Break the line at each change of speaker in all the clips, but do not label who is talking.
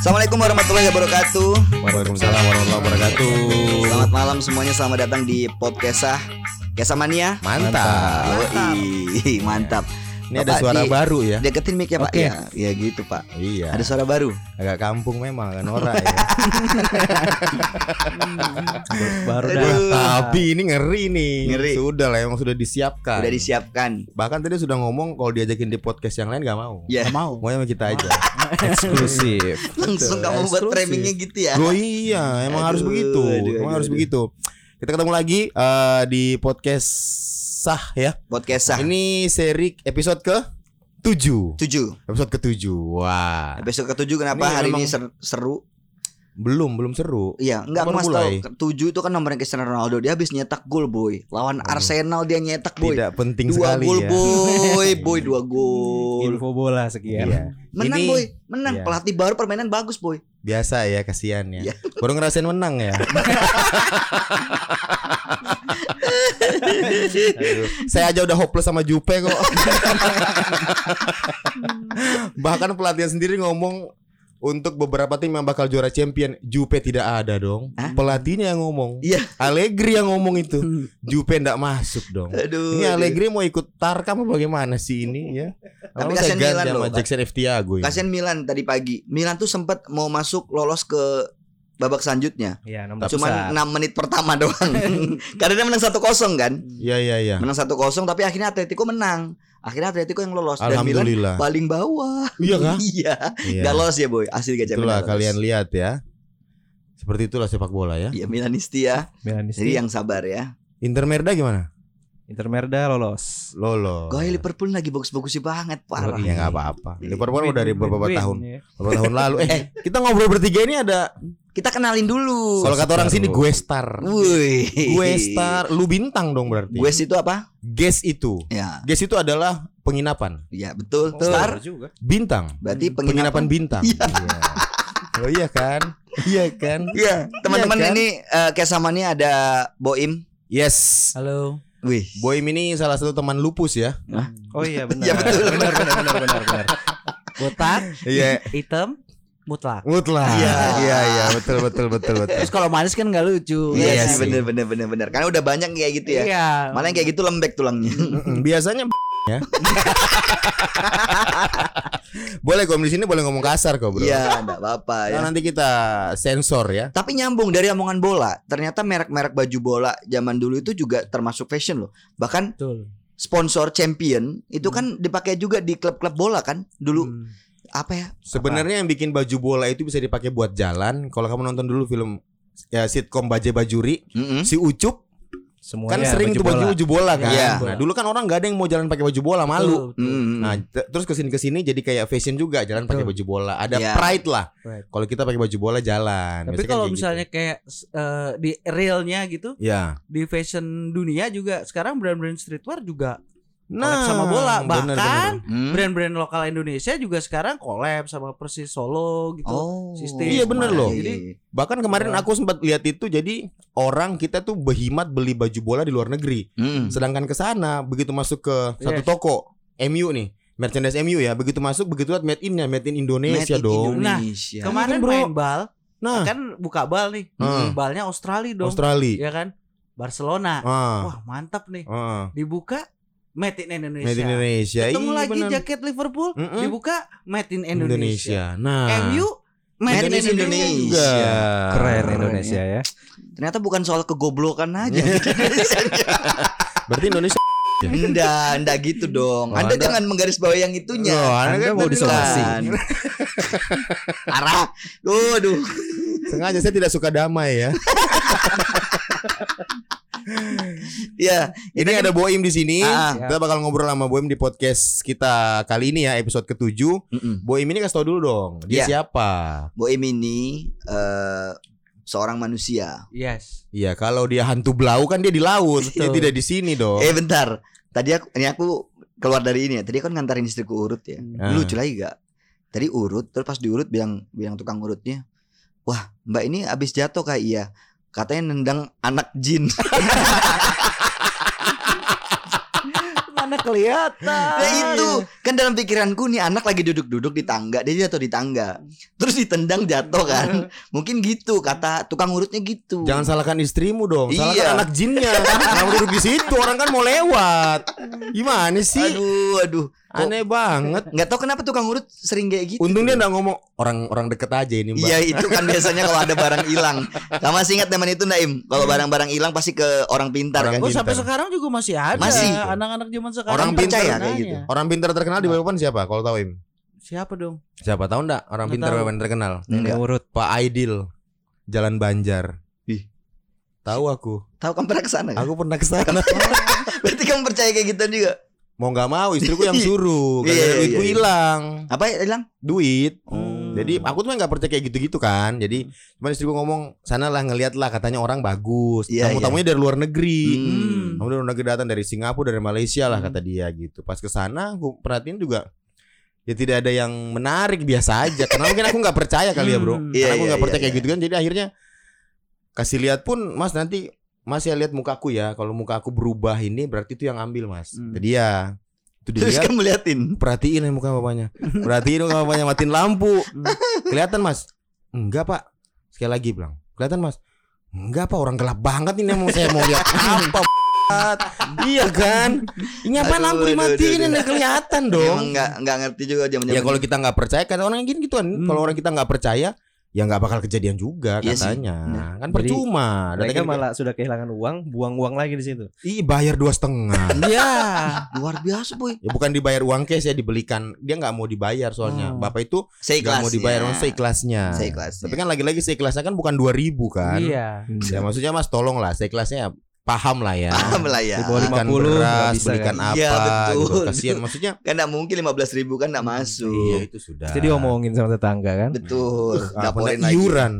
Assalamualaikum warahmatullahi wabarakatuh.
Waalaikumsalam warahmatullahi wabarakatuh.
Selamat malam semuanya, selamat datang di podcastah Kesah Mania.
Mantap.
Yoi, mantap.
Ini
Bapak,
ada suara
di-
baru ya.
Deketin mic ya Pak.
Oke.
Ya, ya gitu Pak.
Iya.
Ada suara baru.
Agak kampung memang agak norak ya.
baru
Aduh.
dah
Tapi ini ngeri nih.
Ngeri.
Sudah lah emang sudah disiapkan.
Udah disiapkan.
Bahkan tadi sudah ngomong kalau diajakin di podcast yang lain gak mau.
Ya.
Nggak mau
Maunya sama kita aja. Eksklusif.
Langsung kamu buat
eksklusif.
framingnya gitu ya.
Oh iya,
Aduh,
emang harus begitu.
aduh,
emang
aduh,
harus
aduh.
begitu. Kita ketemu lagi eh, di podcast sah ya.
Podcastah
Ini seri episode ke 7.
7.
Episode ke-7. Wah.
Episode ke-7 kenapa
Ini
hari ini
memang-
ser- seru?
Belum, belum seru.
Iya, enggak
Baru
Mas
mulai.
tahu. Ketujuh itu kan nomornya Cristiano Ronaldo. Dia habis nyetak gol, Boy. Lawan Arsenal dia nyetak, Boy.
Tidak penting
Dua
sekali
gol,
ya.
Boy. Boy dua gol.
info bola sekian
Iya.
Menang
Ini-
boy, menang.
Iya.
Pelatih baru permainan bagus boy.
Biasa ya kasihan ya.
Iya.
Baru ngerasain menang ya. Aduh, Saya aja udah hopeless sama Jupe kok. Bahkan pelatihan sendiri ngomong untuk beberapa tim yang bakal juara champion, Jupe tidak ada dong.
Hah?
Pelatihnya yang ngomong.
Iya. Hmm.
Allegri yang ngomong itu. Jupe ndak masuk dong.
Aduh. iya.
Ini Allegri mau ikut Tarkam apa bagaimana sih ini ya?
Tapi
Kalau saya
kasihan
ganti
Milan
sama
loh, Pak.
Jackson Eftiago ini.
Kasihan Milan tadi pagi. Milan tuh sempat mau masuk lolos ke babak selanjutnya.
ya nomor
Cuman 6 menit pertama doang. Karena dia menang 1-0 kan?
Iya iya iya.
Menang 1-0 tapi akhirnya Atletico menang. Akhirnya Atletico yang lolos dan Milan
Alhamdulillah.
paling bawah.
Iya kah?
iya.
Iya.
Gak lolos ya boy. Asli gak
Itulah kalian lihat ya. Seperti itulah sepak bola ya.
Iya Milanisti ya.
Iya.
Jadi yang sabar ya.
Inter Merda gimana?
Inter Merda lolos
Lolos.
Gue Liverpool lagi bagus-bagusnya banget parah.
Ya nggak apa-apa.
Iya.
Liverpool kan udah dari
Win-win,
beberapa
win-win,
tahun,
ya.
beberapa tahun lalu. Eh, kita ngobrol bertiga ini ada.
Kita kenalin dulu.
Kalau kata orang sini
Separuh.
gue star,
Wih.
gue star, lu bintang dong berarti.
Gue itu apa?
Guest itu,
Ya,
guest itu adalah penginapan
ya betul.
Oh,
Star
juga
bintang,
berarti
penginapan
penginapan.
bintang.
Iya.
Iya. Oh iya kan, iya kan.
Iya, teman-teman
Iya kan?
ini eh, kesamannya ada Boim.
Yes.
halo
Wih.
Boy ini salah satu teman lupus ya.
oh iya benar
Ya, betul.
benar benar benar benar benar
botak
Iya.
hitam mutlak
Mutlak.
Iya.
Iya iya betul betul betul betul.
terus kalau manis kan nggak lucu
Iya
Iya
sih
sih.
bener bener bener bener. Karena udah banyak kayak gitu ya.
iya
Malah yang kayak gitu lembek tulangnya.
Mm-mm, Biasanya ya. boleh kok di sini boleh ngomong kasar kok, Bro.
Iya, enggak apa-apa ya.
Nah, nanti kita sensor ya.
Tapi nyambung dari omongan bola, ternyata merek-merek baju bola zaman dulu itu juga termasuk fashion loh. Bahkan
betul
sponsor champion itu kan dipakai juga di klub-klub bola kan dulu
Hmm.
apa ya?
Sebenarnya yang bikin baju bola itu bisa dipakai buat jalan. Kalau kamu nonton dulu film ya sitkom Bajai Bajuri,
Mm-mm.
si Ucup
semuanya
kan sering
Oh, iya, baju
tuh baju
bola.
baju bola kan.
Iya.
Nah, dulu kan orang nggak ada yang mau jalan pakai baju bola malu.
Betul, betul.
Mm-mm.
Nah, te- terus kesini kesini jadi kayak fashion juga jalan pakai baju bola. Ada
Iya.
pride lah.
Pride.
Kalau kita pakai baju bola jalan.
tapi
Biasanya kan kayak
kalau
gitu.
misalnya kayak eh, di realnya gitu
ya.
di fashion dunia juga sekarang brand-brand streetwear juga
Nah,
collab sama bola
bener,
bahkan
bener.
Hmm.
brand-brand lokal Indonesia juga sekarang collab sama Persis Solo gitu
Oh.
Sistem.
Iya, bener loh.
Jadi
Bahkan kemarin
Iya.
aku sempat lihat itu jadi orang kita tuh berhemat beli baju bola di luar negeri.
Hmm.
Sedangkan ke sana begitu masuk ke satu
Yes.
toko MU nih, merchandise MU ya, begitu masuk begitu lihat made in-nya, made in Indonesia dong.
Nah,
Indonesia.
kemarin
Kan, bro.
main bal
Nah,
kan buka bal nih
Hmm.
balnya Australia dong
Australia.
ya kan Barcelona
Ah,
wah mantap nih
ah.
dibuka Made in Indonesia.
Made in Indonesia.
Ketemu
Iya,
lagi
bener.
jaket Liverpool
Mm-mm.
dibuka Made in
Indonesia.
Indonesia.
Nah,
MU Made, in Indonesia.
juga.
juga.
Ah, keren
Keren,
Indonesia ya
Ternyata bukan soal kegoblokan aja.
Berarti Indonesia
Enggak, enggak gitu dong.
Oh,
anda,
Anda-
jangan menggarisbawahi yang itunya.
Loh, Anda kan mau
Bukan.
disomasi.
Arah. Duh, duh.
sengaja saya tidak suka damai ya.
Ya,
Ini ada Boim di sini.
Ah.
Kita bakal ngobrol sama Boim di podcast kita kali ini ya episode ketujuh.
Mm-mm.
Boim ini kasih tau dulu dong, dia
Iya.
siapa?
Boim ini eh, seorang manusia.
Yes.
Iya, kalau dia hantu blau kan dia di laut, dia
Betul.
tidak di sini dong.
Eh, bentar. Tadi aku, ini aku keluar dari ini ya. Tadi kan ngantarin istriku urut ya.
Ah.
Lucu lagi gak? Tadi urut, terus pas diurut bilang bilang tukang urutnya, wah mbak ini abis jatuh kayak iya. Katanya nendang anak jin.
Cuman mana kelihatan.
Ya
Ah,
itu
iya.
kan dalam pikiranku nih anak lagi duduk-duduk di tangga dia jatuh di tangga terus ditendang jatuh kan mungkin gitu kata tukang urutnya gitu
Jangan salahkan istrimu dong. Salahkan
Iya.
anak jinnya. Kenapa duduk di situ? Orang kan mau lewat. Gimana sih?
aduh aduh
Aneh banget.
nggak tahu kenapa tukang urut sering kayak gitu
Untung dia nggak ngomong orang-orang deket aja ini mbak.
Iya itu kan biasanya kalau ada barang hilang Kamu masih ingat teman itu Naim Kalau barang-barang hilang pasti ke orang pintar
Hmm. Orang
kan
Oh
pintar.
sampai sekarang juga masih ada
Masih.
anak-anak zaman sekarang.
Orang
juga
pintar ya,
nanya.
kayak gitu.
Orang pintar terkenal di
Nah.
Balikpapan siapa? Kalau tahu Im?
Siapa dong?
Siapa tahu ndak? Orang
Nggak
pintar
tahu.
Balikpapan terkenal.
Enggak.
urut.
Pak Aidil, Jalan Banjar.
Ih.
Tahu aku.
Tahu kamu pernah kesana kan?
Aku pernah ke sana.
Berarti kamu percaya kayak gitu juga
mau nggak mau istriku yang suruh.
Iya,
Karena
iya,
duitku
iya.
hilang.
Apa ya hilang?
Duit.
Hmm.
Jadi aku tuh nggak percaya kayak gitu-gitu kan. Jadi cuman istriku ngomong sanalah ngeliat lah katanya orang bagus.
Iya,
Tamu-tamunya dari luar negeri.
Hmm.
Kamu dari luar negeri datang dari Singapura dari Malaysia lah
Hmm.
kata dia gitu. Pas ke sana aku perhatiin juga ya tidak ada yang menarik biasa aja. Karena mungkin aku nggak percaya kali ya bro.
Hmm.
Iya,
Karena aku
iya,
nggak percaya
iya,
kayak gitu kan. Jadi akhirnya kasih lihat pun Mas nanti Mas ya lihat mukaku ya. Kalau muka aku berubah ini berarti itu yang ambil Mas.
Hmm.
Jadi ya itu
Terus
dilihat
kamu liatin
perhatiin ya muka bapaknya perhatiin muka bapaknya matiin lampu kelihatan mas enggak pak sekali lagi bilang kelihatan mas enggak pak orang gelap banget ini mau saya mau lihat apa b****? iya kan ini apa
Aduh,
lampu
aduh, aduh,
dimatiin
aduh.
ini kelihatan dong
Emang nggak nggak ngerti juga zaman
ya kalau kita nggak percaya kan orang gini gitu kan
Hmm.
kalau orang kita nggak percaya ya nggak bakal kejadian juga
Iya sih.
katanya
Nah.
kan
Jadi,
percuma
Mereka
Datangin-
malah sudah kehilangan uang, buang uang lagi di situ.
ih bayar dua setengah
Iya.
luar biasa boy
ya bukan dibayar uang cash ya dibelikan dia nggak mau dibayar soalnya
Hmm.
bapak itu
Seikhlasnya
Gak mau
iya.
dibayar maksudnya seikhlasnya.
Seikhlasnya.
Tapi kan lagi-lagi seikhlasnya kan bukan 2000 kan.
Iya.
Ya maksudnya Mas tolong lah seikhlasnya paham lah ya.
Paham lah ya
Di bawah
Belikan
50, nggak
beras,
bisa
belikan
kan.
apa
Iya, betul.
gitu. Kasihan maksudnya.
Kan nggak mungkin 15 ribu kan nggak masuk
Iya, itu sudah.
Jadi omongin sama tetangga kan.
Betul
Daporin
Daporin lagi
iuran.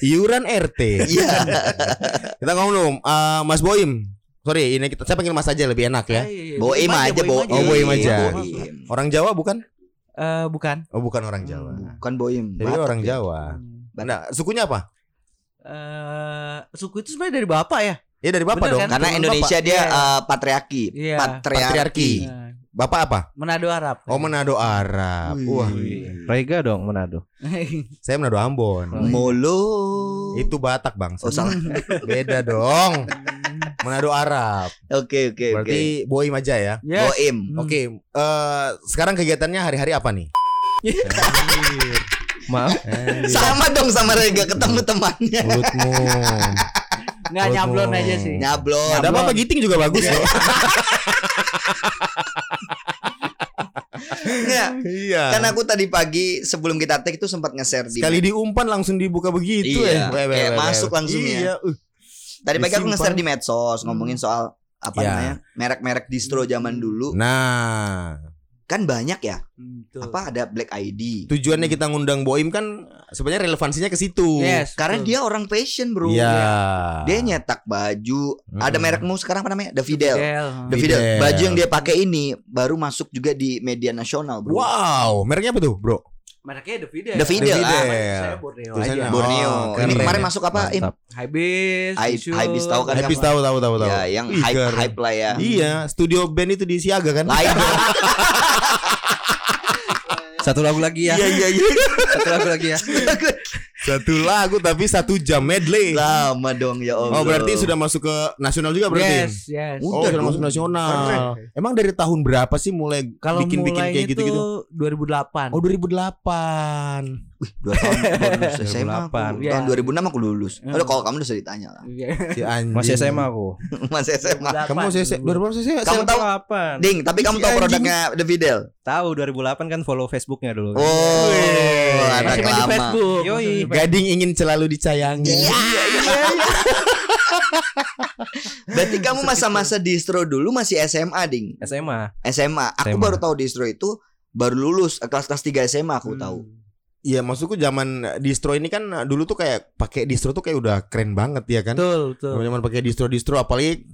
Iuran RT.
Iya
kita ngomong dulu eh, Mas Boim. Sorry, ini kita saya panggil Mas aja lebih enak
Iya,
ya.
Boim aja Boim
Oh, Boim aja.
Boim.
Orang Jawa bukan?
Eh, bukan.
Oh, bukan orang Jawa.
Bukan Boim
Tapi
Batak,
orang
ya.
Jawa. Nah, sukunya apa?
Eh, suku itu sebenarnya dari bapak ya?
Ya dari Bapak
Bener
dong.
kan?
Karena
Keturunan
Indonesia
Bapak.
dia
Iya.
eh, patriarki
Iya.
Patriarki
Patriarki.
Nah,
Bapak apa?
Manado Arab.
Oh, Manado Arab.
Wih.
Wah,
Rega dong Manado.
Iya.
saya Manado Ambon.
Oh, iya.
Molo
Itu Batak bang
Hmm. Oh salah
Beda dong Manado Arab
Oke oke oke
Berarti Boim aja ya
Yes.
Boim
Hmm.
Oke eh, Sekarang kegiatannya hari-hari apa nih?
Maaf.
Iya.
Sama dong sama Rega ketemu temannya
Mulutmu
Nggak nyablon
Aduh.
aja sih.
Nyablon
Ada apa-apa giting juga bagus loh
Nggak. Kan
Iya
aku tadi pagi sebelum kita take itu sempat nge-share di
Sekali diumpan langsung dibuka begitu
Iya,
ya Weh, weh,
kayak
weh, weh.
masuk langsung ya.
Iya uh.
Tadi pagi aku
disimpan.
nge-share di medsos ngomongin soal apa
Ya.
namanya merek-merek distro zaman dulu
Nah
kan banyak ya
Hmm, betul.
apa ada Black ID
Tujuannya kita ngundang Boim kan Sebenarnya relevansinya ke situ
Yes.
karena
betul.
dia orang fashion bro
Iya
dia nyetak baju
Mm-mm.
ada merekmu sekarang apa namanya Davidel
Del.
Davidel
Davidel.
baju yang dia pakai ini baru masuk juga di media nasional bro
Wow Mereknya apa tuh bro?
Mereknya The Fidel.
The Fidel.
Ah,
Fidel.
Saya Borneo aja.
Tulisannya.
Borneo
Oh,
ini
keren.
kemarin masuk apa Im?
Mantap.
Hibis.
Hi-
Isu.
Hibis tahu kan
Habis
yang-
tahu tahu tahu tahu.
ya yang
Ih,
hype
keren.
hype lah ya
Iya, studio band itu di Siaga kan?
lain bro.
Satu lagu lagi ya.
iya iya
Satu lagu lagi ya.
Satu lagu tapi satu jam medley.
lama dong ya Allah
Oh berarti sudah masuk ke nasional juga
Yes,
berarti?
yes.
Oh
Udah
sudah
dong.
masuk nasional.
Keren.
Emang dari tahun berapa sih mulai
Kalau
bikin bikin
mulainya
kayak gitu gitu?
tuh 2008.
Oh 2008.
dua tahun gua lulus SMA aku,
2008.
tahun
Iya.
2006 aku lulus
Hmm.
Aduh kalau kamu udah usah ditanya lah
Iya.
Si anjing.
Masih SMA aku.
Mas SMA
2008.
Kamu masih SMA?
Iya,
2008 SMA?
Kamu tahu?
2008.
Ding tapi kamu
Si
tahu
anjing.
produknya Davidel
Tahu 2008 kan follow Facebooknya dulu.
Oh anak
Masih main di
lama
Yoi.
Facebook. Masih main di Facebook.
Gading ingin selalu dicayangi.
Berarti kamu masa-masa distro dulu masih SMA, Ding.
SMA.
SMA. Aku
SMA.
baru tahu distro itu baru lulus eh, kelas-kelas 3 SMA aku
Hmm.
tahu.
Iya maksudku zaman distro ini kan dulu tuh kayak pakai distro tuh kayak udah keren banget ya kan?
Betul, betul.
Zaman pakai distro-distro apalagi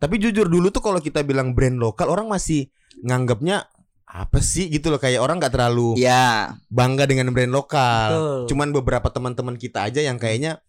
tapi jujur dulu tuh kalau kita bilang brand lokal orang masih nganggapnya apa sih gitu loh kayak orang nggak terlalu
Iya.
bangga dengan brand lokal.
Betul.
Cuman beberapa teman-teman kita aja yang kayaknya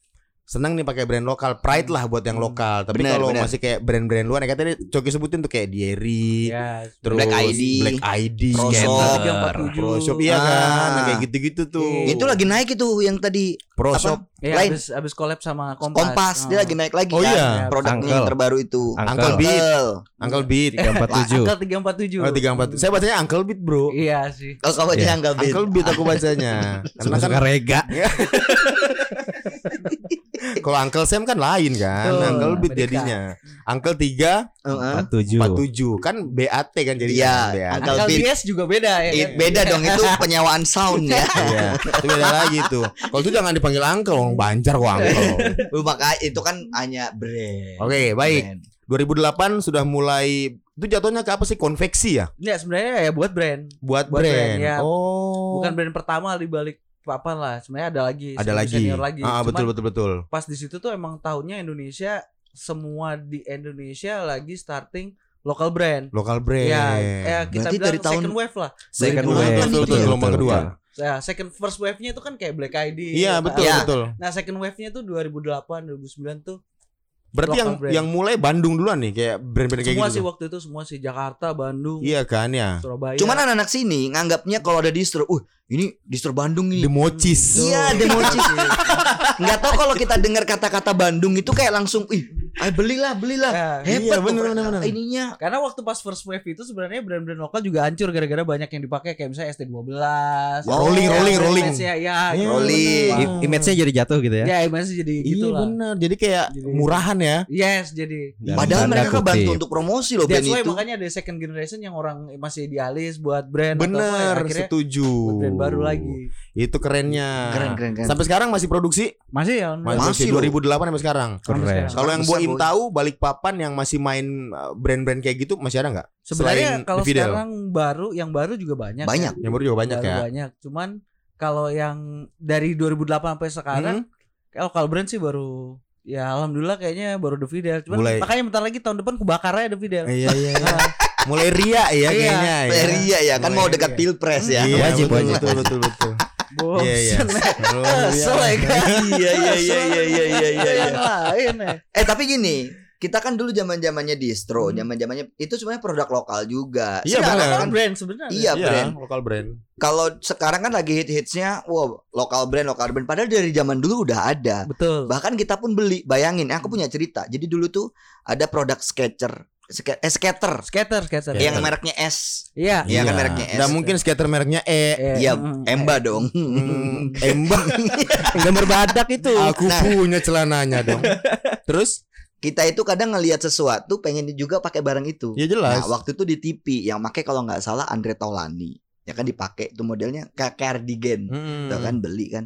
senang nih pakai brand lokal pride lah buat yang lokal tapi
Bener,
kalau
bener.
masih kayak brand-brand luar ya kayak tadi Coki sebutin tuh kayak Dieri
Ya,
terus
Black ID,
Black ID
Pro
Scanner,
Shop.
Pro Shop iya
Ah.
kan nah, kayak gitu-gitu tuh
Iya.
Itu lagi naik itu yang tadi
Pro
apa?
Shop
Ya,
Lain.
abis, abis collab sama Kompas. Ah.
Kompas, dia lagi naik lagi
Oh,
kan
iya.
produknya
Uncle.
yang terbaru itu.
Uncle
Angkel
Beat.
Uncle.
Uncle Beat
tiga empat tujuh.
Angka 347.
oh, 34 saya bacanya Uncle Beat bro
Iya sih.
Kalau kamu
Iya.
yeah. Uncle Beat.
Uncle Beat aku bacanya karena kan
Suka rega.
kalau Uncle Sam kan lain kan
Betul.
Uncle Beat
Amerika.
jadinya Uncle 3
Heeh.
Empat tujuh.
47 kan BAT kan jadi
Iya,
BAT
Angka
Angka
Beat.
BS juga beda ya.
It,
kan?
beda dong itu penyewaan sound ya.
Iya, itu beda lagi tuh. Kalau itu jangan dipanggil angkel, orang banjar kok angkel.
Lu Maka itu kan hanya brand.
Oke, baik.
Brand.
2008 sudah mulai itu jatuhnya ke apa sih konveksi ya?
Ya sebenarnya ya buat brand.
Buat,
Buat
brand.
brand, ya.
Oh.
Bukan brand pertama di balik papan lah. Sebenarnya ada lagi.
ada
senior-
lagi.
Senior lagi.
Ah,
Cuman
betul betul betul.
pas di situ tuh emang tahunnya Indonesia semua di Indonesia lagi starting lokal brand.
Lokal brand.
Ya, eh, kita
Berarti
bilang
dari tahun-
second wave lah.
Second
Betul,
wave.
betul, betul,
Iya,
gelombang kedua.
Ya, second first wave-nya itu kan kayak Black ID.
Iya, betul
Iya.
betul.
Nah, second wave-nya tuh 2008, 2009 tuh
Berarti
Lokal
yang
brand.
yang mulai Bandung duluan nih kayak brand-brand kayak
semua
gitu.
sih waktu itu semua sih Jakarta, Bandung,
Iya kan ya.
Surabaya.
Cuman anak-anak sini nganggapnya kalau ada distro, uh ini distro Bandung nih.
Democis.
Iya, democis. Nggak tahu kalau kita dengar kata-kata Bandung itu kayak langsung, ih, ayo belilah, belilah.
Ya,
Hebat
Iya,
tuh
bener,
per-
bener, bener.
ininya.
karena waktu pas first wave itu sebenarnya brand-brand lokal juga hancur gara-gara banyak yang dipakai kayak misalnya ST12.
Wah, rolling, rolling, rolling.
Ya, ya,
Iya,
rolling.
bener.
I- Image-nya jadi jatuh gitu ya.
Ya, image jadi gitu
Iya
lah.
benar. Jadi kayak
Jadi-
murahan ya.
Yes, jadi
Dalam
Padahal
tanda
mereka kan bantu
Iya. kutip.
untuk promosi loh band
That's why
itu.
makanya ada second generation yang orang masih dialis buat brand atau apa ya,
Bener,
akhirnya
setuju.
buat brand baru lagi.
Itu kerennya.
Keren, keren, keren.
Sampai sekarang masih produksi?
Masih ya.
Masih
Masih,
loh.
2008 sampai sekarang.
Keren.
Kalau yang
Besar,
Boim
Boim.
tahu balik papan yang masih main uh, brand-brand kayak gitu masih ada nggak?
Sebenarnya
Selain
kalau
The Fidel.
sekarang baru yang baru juga banyak. ya.
Banyak.
Yang baru juga banyak
Baru
ya.
Banyak. Cuman kalau yang dari 2008 sampai sekarang
Hmm.
kalau kalau brand sih baru ya alhamdulillah kayaknya baru The Fidel. Cuman
Mulai.
makanya bentar lagi tahun depan kubakarnya The Fidel.
Iya iya. iya.
Nah,
Mulai ria ya
Iya.
kayaknya. ya.
Peria ya kan mau dekat
Iya.
pilpres ya.
Iya,
Wajib,
betul,
wajib,
betul, betul, betul.
Bosen.
Iya, iya. Mulai ria.
Kesel ya kan.
Iya iya iya iya iya iya iya. iya.
Yang lain ya.
Eh tapi gini, kita kan dulu zaman zamannya distro, zaman zamannya itu sebenarnya produk lokal juga.
Iya,
Sekarang
benar.
kan,
brand sebenarnya.
iya
Iya,
brand.
lokal brand.
Kalau sekarang kan lagi hit hitsnya, wow lokal brand lokal brand. Padahal dari zaman dulu udah ada.
Betul.
Bahkan kita pun beli. Bayangin, eh, aku punya cerita. Jadi dulu tuh ada produk sketcher, ske- eh, skater
Skater, skater.
Ya,
yang mereknya S.
Iya.
Iya kan mereknya S.
Dan kan? mungkin skater mereknya E.
Eh,
Iya,
mm,
Emba dong.
Hmm, Ember.
Gambar badak itu.
Aku
Nah.
punya celananya dong. Terus?
kita itu kadang ngelihat sesuatu pengen juga pakai barang itu.
Ya jelas.
Nah, waktu itu di TV yang make kalau nggak salah Andre Taulani. Ya kan dipakai itu modelnya kayak cardigan.
Hmm.
Tuh kan beli kan.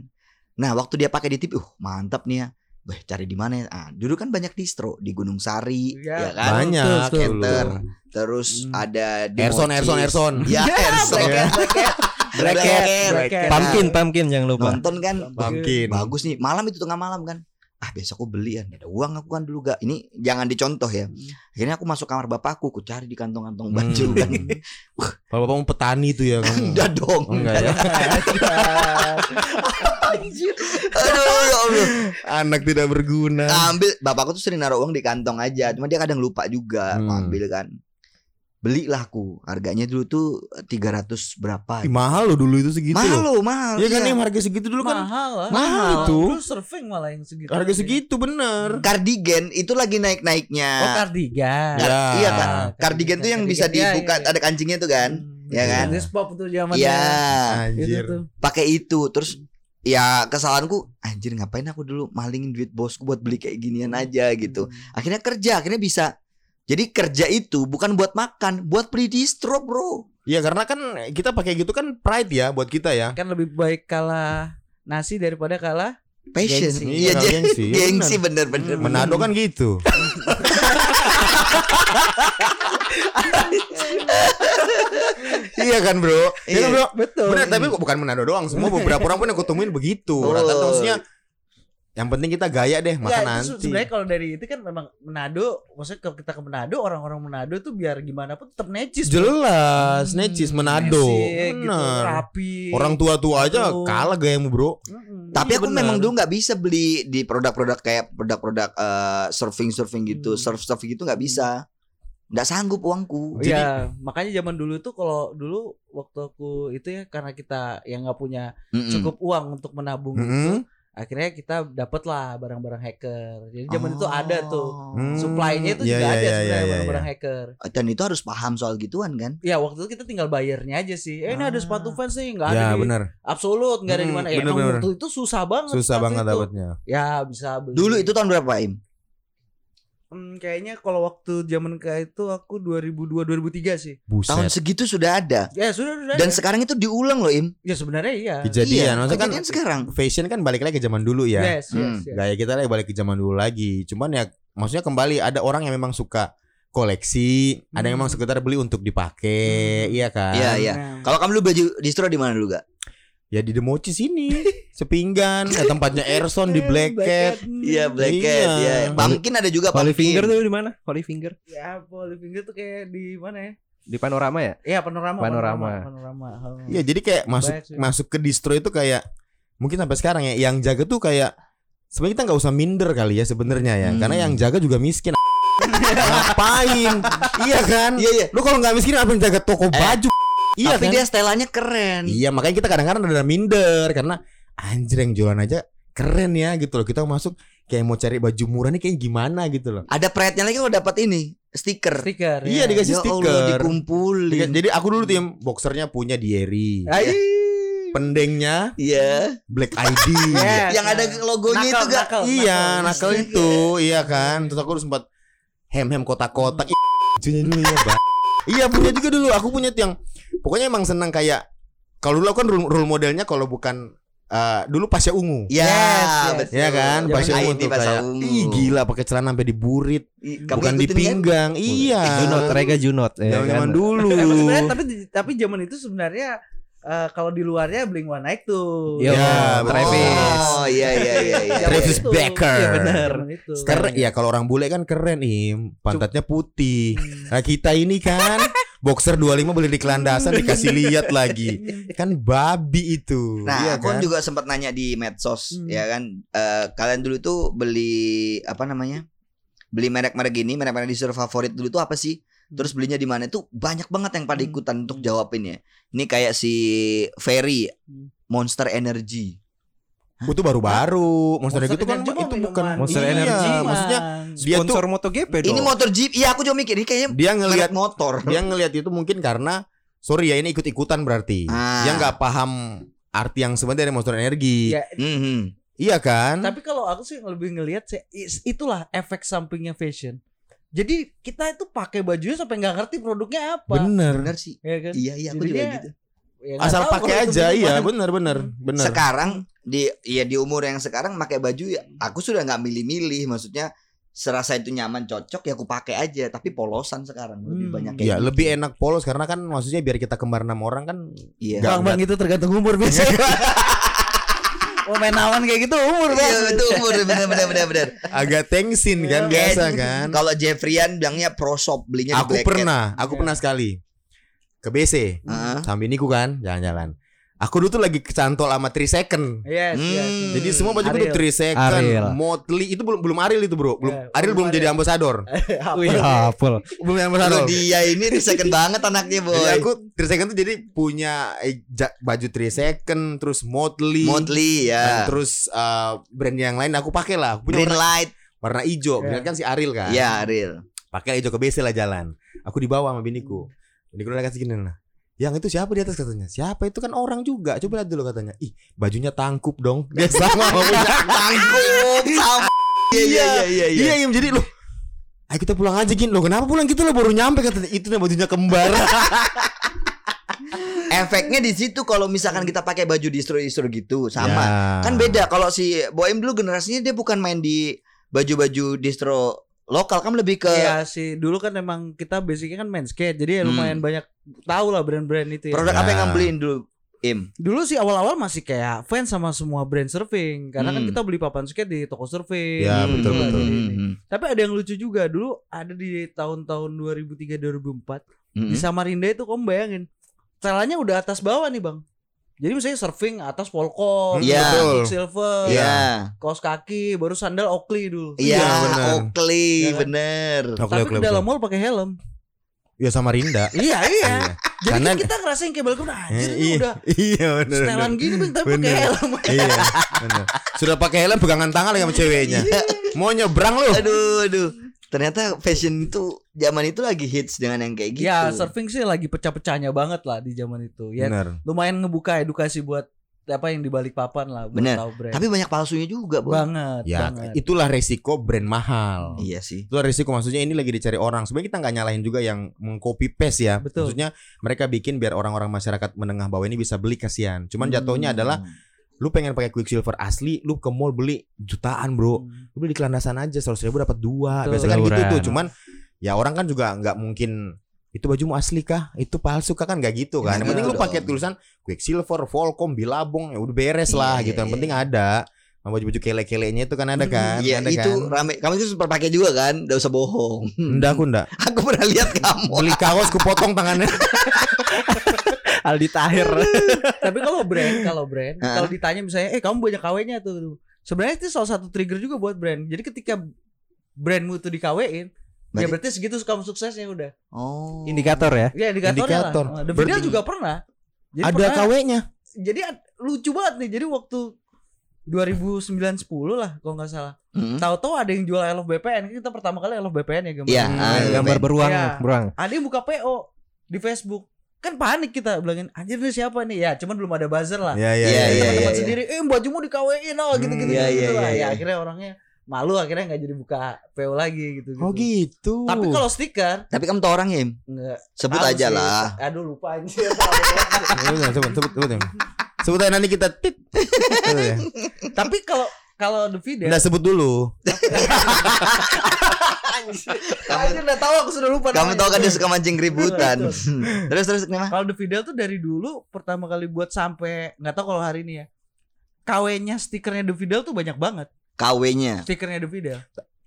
Nah, waktu dia pakai di TV, uh mantap nih ya. Wah, cari di mana ya? Ah, dulu kan banyak distro di Gunung Sari, ya,
Iya.
kan?
Banyak.
Betul, betul.
Skater.
Terus
Hmm.
ada di
Erson,
Mochis.
Erson, Erson.
Ya,
Iya,
Erson.
Iya.
Black Cat,
Black Cat.
Black Cat.
Pumpkin, pumpkin jangan lupa.
Nonton kan
Mungkin.
bagus nih. Malam itu tengah malam kan. Ah, besok aku beli kan. Ada uang aku kan dulu gak. Ini jangan dicontoh ya.
Hmm.
Akhirnya aku masuk kamar bapakku, aku cari di kantong-kantong baju
Hmm.
kan.
Kalau bapak mau petani tuh ya kamu.
Udah dong.
Oh, enggak ya. Hmm.
Aduh, ya Allah.
Anak tidak berguna.
Ambil bapakku tuh sering naruh uang di kantong aja, cuma dia kadang lupa juga
Hmm.
ngambil kan. Belilah aku, harganya dulu tuh 300 berapa.
Ah. Ih, mahal loh dulu itu segitu
mahal
loh.
loh, mahal.
Iya kan
iya.
yang harga segitu dulu kan.
mahal lah.
Mahal itu.
Dulu surfing malah yang segitu.
Harga segitu bener.
Cardigan itu lagi naik-naiknya.
Oh kardigan.
Kar-
Ya.
Iya kan. Cardigan tuh yang bisa
Cardigan, iya,
dibuka
iya, iya.
ada kancingnya tuh kan.
Hmm.
Ya kan?
Disc pop tuh zamannya.
Iya,
Itu tuh.
pakai itu. Terus ya kesalahanku, anjir ngapain aku dulu malingin duit bosku buat beli kayak ginian
Hmm.
aja gitu. Akhirnya kerja, akhirnya bisa. Jadi kerja itu bukan buat makan, buat beli distro bro.
Iya karena kan kita pakai gitu kan pride ya buat kita ya.
Kan lebih baik kalah nasi daripada kalah.
Passion.
Gengsi.
Iya,
kalau
je-
gengsi. Iya,
gengsi
bener.
bener-bener.
Hmm.
Manado kan gitu. iya kan bro. Iya kan
Oh,
bro.
Betul.
Bener tapi kok bukan Manado doang. Semua beberapa orang pun aku temuin begitu.
Oh.
Rata-rata maksudnya Yang penting kita gaya deh, masa
Ya, itu se-
nanti.
sebenarnya kalau dari itu kan memang Manado, maksudnya kalau kita ke Manado, orang-orang Manado tuh biar gimana pun tetap necis. bro. Hmm.
Jelas, necis Manado.
Necis, gitu,
Bener.
rapi.
Orang tua-tua aja
Betul.
kalah gayamu, Bro.
Mm-mm.
Tapi
Iya,
aku
bener.
memang dulu nggak bisa beli di produk-produk kayak produk-produk eh, surfing-surfing gitu,
Hmm.
surf-surf gitu nggak bisa. Nggak sanggup uangku.
Iya, makanya zaman dulu tuh kalau dulu waktu aku itu ya karena kita yang nggak punya
Mm-mm.
Mm.
cukup uang untuk menabung itu,
Mm-mm.
akhirnya kita dapatlah barang-barang hacker. Jadi zaman
Oh.
itu ada tuh
Hmm.
supply-nya itu
Iya, iya,
juga ada
iya, iya,
sebenarnya
iya.
barang-barang hacker.
Dan itu harus paham soal gituan kan?
Ya waktu itu kita tinggal bayarnya aja sih. Eh ini ada
Ah.
sepatu fans nih, nggak ada
Ya,
di
benar.
Absolut, nggak ada di
Hmm,
mana. Ya,
bener,
emang
bener.
waktu itu susah banget.
Susah
sepatu
banget
itu.
dapatnya.
Ya bisa beli.
Dulu itu tahun berapa, Im?
Hmm, kayaknya kalau waktu zaman kayak itu aku 2002 2003 sih.
Tahun
Buset.
segitu sudah ada.
Ya sudah sudah.
Dan sekarang itu diulang loh, Im.
ya sebenarnya iya.
Iya,
Kejadian, maksudnya kan
kejadian sekarang.
fashion kan balik lagi ke zaman dulu ya.
Yes, yes,
Iya.
yes.
gaya kita lagi balik ke zaman dulu lagi. Cuman ya maksudnya kembali ada orang yang memang suka koleksi, ada yang memang
Hmm.
sekedar beli untuk dipakai, iya kan?
Iya, iya.
Nah,
Kalau kamu dulu baju distro di mana dulu gak?
Ya di Democi sini, sepinggan, ya tempatnya Erson di
eh,
Black Cat.
hmm.
Iya, Black Cat,
Iya.
iya. Pumpkin ada juga
Holy Finger
Pumpkin.
tuh di mana? Holy Finger
Ya, Holy Finger tuh kayak di mana ya?
di Panorama ya?
Iya, panorama.
Panorama.
Panorama. panorama. oh.
Ya jadi kayak masuk
Baik sih.
masuk ke distro itu kayak mungkin sampai sekarang ya yang jaga tuh kayak sebenarnya kita nggak usah minder kali ya sebenarnya ya,
Hmm.
karena yang jaga juga miskin. Ngapain? iya kan?
Iya, iya.
Lu kalau nggak miskin apa yang jaga toko baju? Iya
Tapi
kan?
dia stelannya keren.
Iya makanya kita kadang-kadang ada minder karena anjir yang jualan aja keren ya gitu loh. Kita masuk kayak mau cari baju murah nih kayak gimana gitu loh.
Ada pride-nya lagi kalau dapat ini, stiker.
Stiker.
Iya,
ya.
dikasih
Ya Allah,
stiker. Iya.
dikumpulin.
Jadi aku dulu tim boxernya punya Dieri,
Ah,
Ai.
pendengnya
Iya.
Black ID.
Yes,
Yang ada
kan?
yes.
logonya itu
Nakal,
gak?
nakal,
gitu, iya, nakal
Iya.
itu, iya kan. Terus aku dulu sempat hem-hem
Hmm.
kotak-kotak. Ih, Bajunya dulu ya, Bang. Iya punya juga dulu. Aku punya tuh yang pokoknya emang senang kayak kalau dulu aku kan rule, rule modelnya kalau bukan eh, dulu pasnya ungu.
Ya,
Yes, yes.
betul.
Iya kan,
Zaman
bahasa
ID
ungu tuh
bahasa
kayak,
ungu.
ih gila pakai celana sampai di burit,
I- kamu
bukan di
ikutin kan?
pinggang. Iya.
Junot, Rega Junot ya
Zaman-zaman
kan.
dulu.
Emang sebenarnya tapi tapi zaman itu sebenarnya eh, kalau di luarnya Blink One Night tuh.
Yo,
Ya,
Iya, Travis.
Oh, iya iya iya iya.
Zaman
Travis
itu.
Barker.
Iya benar. Zaman itu.
Keren ya kalau orang bule kan keren im, pantatnya putih. Nah kita ini kan boxer 25 beli di kelandasan dikasih lihat lagi. Kan babi itu.
Nah,
iya
aku
kan?
juga sempat nanya di medsos,
Hmm.
ya kan, Eh, kalian dulu tuh beli apa namanya? Beli merek-merek gini, merek-merek distro favorit dulu tuh apa sih? Terus belinya di mana? Itu banyak banget yang pada
Hmm.
ikutan untuk
Hmm.
jawabin ya. Ini kayak si Ferry
Hmm.
Monster Energy.
Itu baru-baru. Monster Energy itu kan
Iya, Energy
itu
mah
bukan
minuman.
Monster
iya,
Energy.
Maksudnya dia tuh
Sponsor MotoGP dong.
Ini motor Jeep. Iya, aku juga mikir ini kayaknya
dia ngelihat
merek motor.
dia ngelihat itu mungkin karena sorry ya ini ikut-ikutan berarti.
Ah.
Dia nggak paham arti yang sebenarnya dari monster energi.
Ya,
Mhm.
Iya kan?
tapi kalau aku sih lebih ngelihat sih, is- itulah efek sampingnya fashion. Jadi kita itu pakai bajunya sampai nggak ngerti produknya apa.
Bener.
Bener sih.
Ya kan?
Iya, iya, aku
Jadi
juga
dia-
gitu.
Ya, nggak
Asal
tahu kalau
pakai
itu
aja,
minuman.
iya bener bener bener.
Sekarang di ya di umur yang sekarang pakai baju ya
Hmm.
aku sudah nggak milih-milih maksudnya serasa itu nyaman cocok ya aku pakai aja tapi polosan sekarang lebih
Hmm.
banyak kayak
Ya
gitu.
lebih enak polos karena kan maksudnya biar kita kembar enam orang kan
Iya.
Nggak-
Bang, bang itu tergantung umur biasanya. Mau main awan kayak gitu umur bang.
Iya itu umur bener bener bener bener. gitu.
agak tengsin
Iya.
kan biasa kan.
Kalau Jeffrian bilangnya pro shop belinya
Aku
di Black Cat.
pernah, aku
Iya.
pernah sekali ke BC
Heeh.
sambil niku kan jalan-jalan. Aku dulu tuh lagi kecantol sama 3 second.
Yes, yes.
Hmm.
Jadi semua baju tuh
Ariel.
3 second,
Ariel.
Motley itu belum belum Ariel itu, Bro. Belum
Ya,
Ariel belum
belum
jadi ambasador.
Wih,
Iya.
hafal.
belum jadi
Kalau
ambasador.
dia ini di second banget anaknya boy.
Jadi Iya, aku 3 second tuh jadi punya eh, ja- baju 3 second terus Motley,
Motley
dan
ya.
terus eh, brand yang lain aku pakai lah. Aku Punya
Green
warna,
light.
warna hijau,
Iya.
Bilang kan si Ariel kan.
Ya real.
Pakai hijau ke BC lah jalan. Aku dibawa sama biniku. Biniku udah kasih gini lah. Yang itu siapa di atas katanya? Siapa itu kan orang juga. Coba lihat dulu katanya. Ih, bajunya tangkup dong. Dia sama sama punya.
Tanggup sama. Iya iya iya iya.
Iya, Im, jadi loh. Ayo kita pulang aja gini loh. Kenapa pulang kita loh baru nyampe katanya. Itu nih bajunya kembar.
Efeknya di situ kalau misalkan kita pakai baju distro-distro gitu sama.
Ya.
Kan beda kalau si Boem dulu generasinya dia bukan main di baju-baju distro lokal kan lebih ke
Iya sih, dulu kan emang
Hmm.
kita basicnya kan main skate, jadi ya lumayan banyak tahu lah brand-brand itu ya.
produk apa yang
Ya.
ngambilin dulu. Im.
Dulu sih awal-awal masih kayak fans sama semua brand surfing karena kan
Hmm.
kita beli papan skate di toko surfing.
Ya,
gitu
betul,
lah,
betul.
gini, gini. Tapi ada yang lucu juga dulu ada di tahun-tahun 2003 2004
Hmm.
di Samarinda itu kamu bayangin caranya udah atas bawah nih bang jadi misalnya surfing atas polkom
Iya.
Hmm, Betul.
Silk silver
Iya.
kaos kaki baru sandal Oakley dulu
Iya,
bener.
Oakley
Ya kan?
bener.
Oke,
tapi
oke,
ke
oke.
dalam mall pakai helm
Ya sama Rinda.
iya iya jadi
Karena-
kan kita ngerasain kayak balkon anjir ini
iya,
udah
iya bener,
setelan
bener.
gini Bang, tapi pakai
Bener.
helm
iya, bener. Sudah pakai helm pegangan tangan lagi sama ceweknya.
Iya.
Mau nyebrang lu.
Aduh, aduh. Ternyata fashion itu zaman itu lagi hits dengan yang kayak gitu.
ya surfing sih lagi pecah-pecahnya banget lah di zaman itu ya
Bener.
lumayan ngebuka edukasi buat apa yang dibalik papan lah buat
Bener.
tahu brand
Tapi banyak palsunya juga, Bang.
banget
Ya,
banget
itulah resiko brand mahal.
Iya sih.
Itu resiko maksudnya ini lagi dicari orang. Sebenarnya kita nggak nyalahin juga yang mengcopy paste ya.
Betul.
Maksudnya mereka bikin biar orang-orang masyarakat menengah bawah ini bisa beli kasihan. Cuman Kan jatuhnya
Hmm.
adalah
Hmm.
lu pengen pakai Quicksilver asli, lu ke mall beli jutaan, Bro.
Hmm.
Lu beli di kelandasan aja 100 ribu dapat dua.
Betul.
Biasanya kan gitu
Murah.
tuh. Cuman ya orang kan juga nggak mungkin itu bajumu asli kah? Itu palsu kah kan nggak gitu kan. Yang
Iya,
penting lu
dong.
pakai tulisan Quicksilver, Volcom, Bilabong, ya udah beres
Iya,
lah
iya,
gitu. Yang
iya.
penting ada. Sama baju-baju kele-kelenya itu kan ada kan?
Iya,
ada
itu
kan?
rame. Kamu itu sempat pakai juga kan? Gak usah bohong.
Enggak, aku enggak.
Aku pernah lihat kamu.
Beli kaos ku potong tangannya.
Aldi Tahir.
Tapi kalau brand, kalau brand,
Heeh.
kalau ditanya misalnya, eh kamu banyak KW-nya tuh. Sebenarnya itu salah satu trigger juga buat brand. Jadi ketika brandmu tuh dikawin, ya
Berarti-
berarti segitu kamu suksesnya udah.
Oh.
Indikator ya.
Ya indikatornya
Indikator.
lah. The
Berarti-
Fidel juga pernah. Jadi
ada
pernah,
KW-nya.
Jadi ad- lucu banget nih. Jadi waktu 2009 10 lah kalau nggak salah.
Hmm.
Tahu-tahu ada yang jual Love BPN. Kan Kita pertama kali Love BPN ya gambar.
Iya,
Hmm.
ah,
Gambar
lumayan.
beruang,
Iya.
beruang.
Ada yang buka PO di Facebook. Kan panik kita bilangin, anjir ini siapa nih? Ya, cuman belum ada buzzer lah.
Iya, iya,
Iya,
iya.
iya,
teman-teman
iya.
sendiri eh bajumu di KW-in oh
Hmm,
gitu-gitu
iya, iya,
gitu
iya,
lah. ya
iya.
akhirnya orangnya malu akhirnya nggak jadi buka PO lagi gitu,
Oh gitu.
tapi kalau stiker
Tapi kamu tau orang ya? Im?
nggak
Sebut
tahu
aja
sih.
lah.
aduh lupa aja
sebut Iya, sebut sebut sebut. Sebut aja nanti kita tit. Gitu ya.
tapi kalau kalau The Fidel
Nah,
Nggak sebut dulu.
aja udah tahu aku sudah lupa
Kamu
namanya.
tau kan dia suka mancing keributan.
Betul.
terus terus kenapa?
kalau The Fidel tuh dari dulu pertama kali buat sampai nggak tahu kalau hari ini ya KW-nya stikernya The Fidel tuh banyak banget
KW-nya.
stikernya The Fidel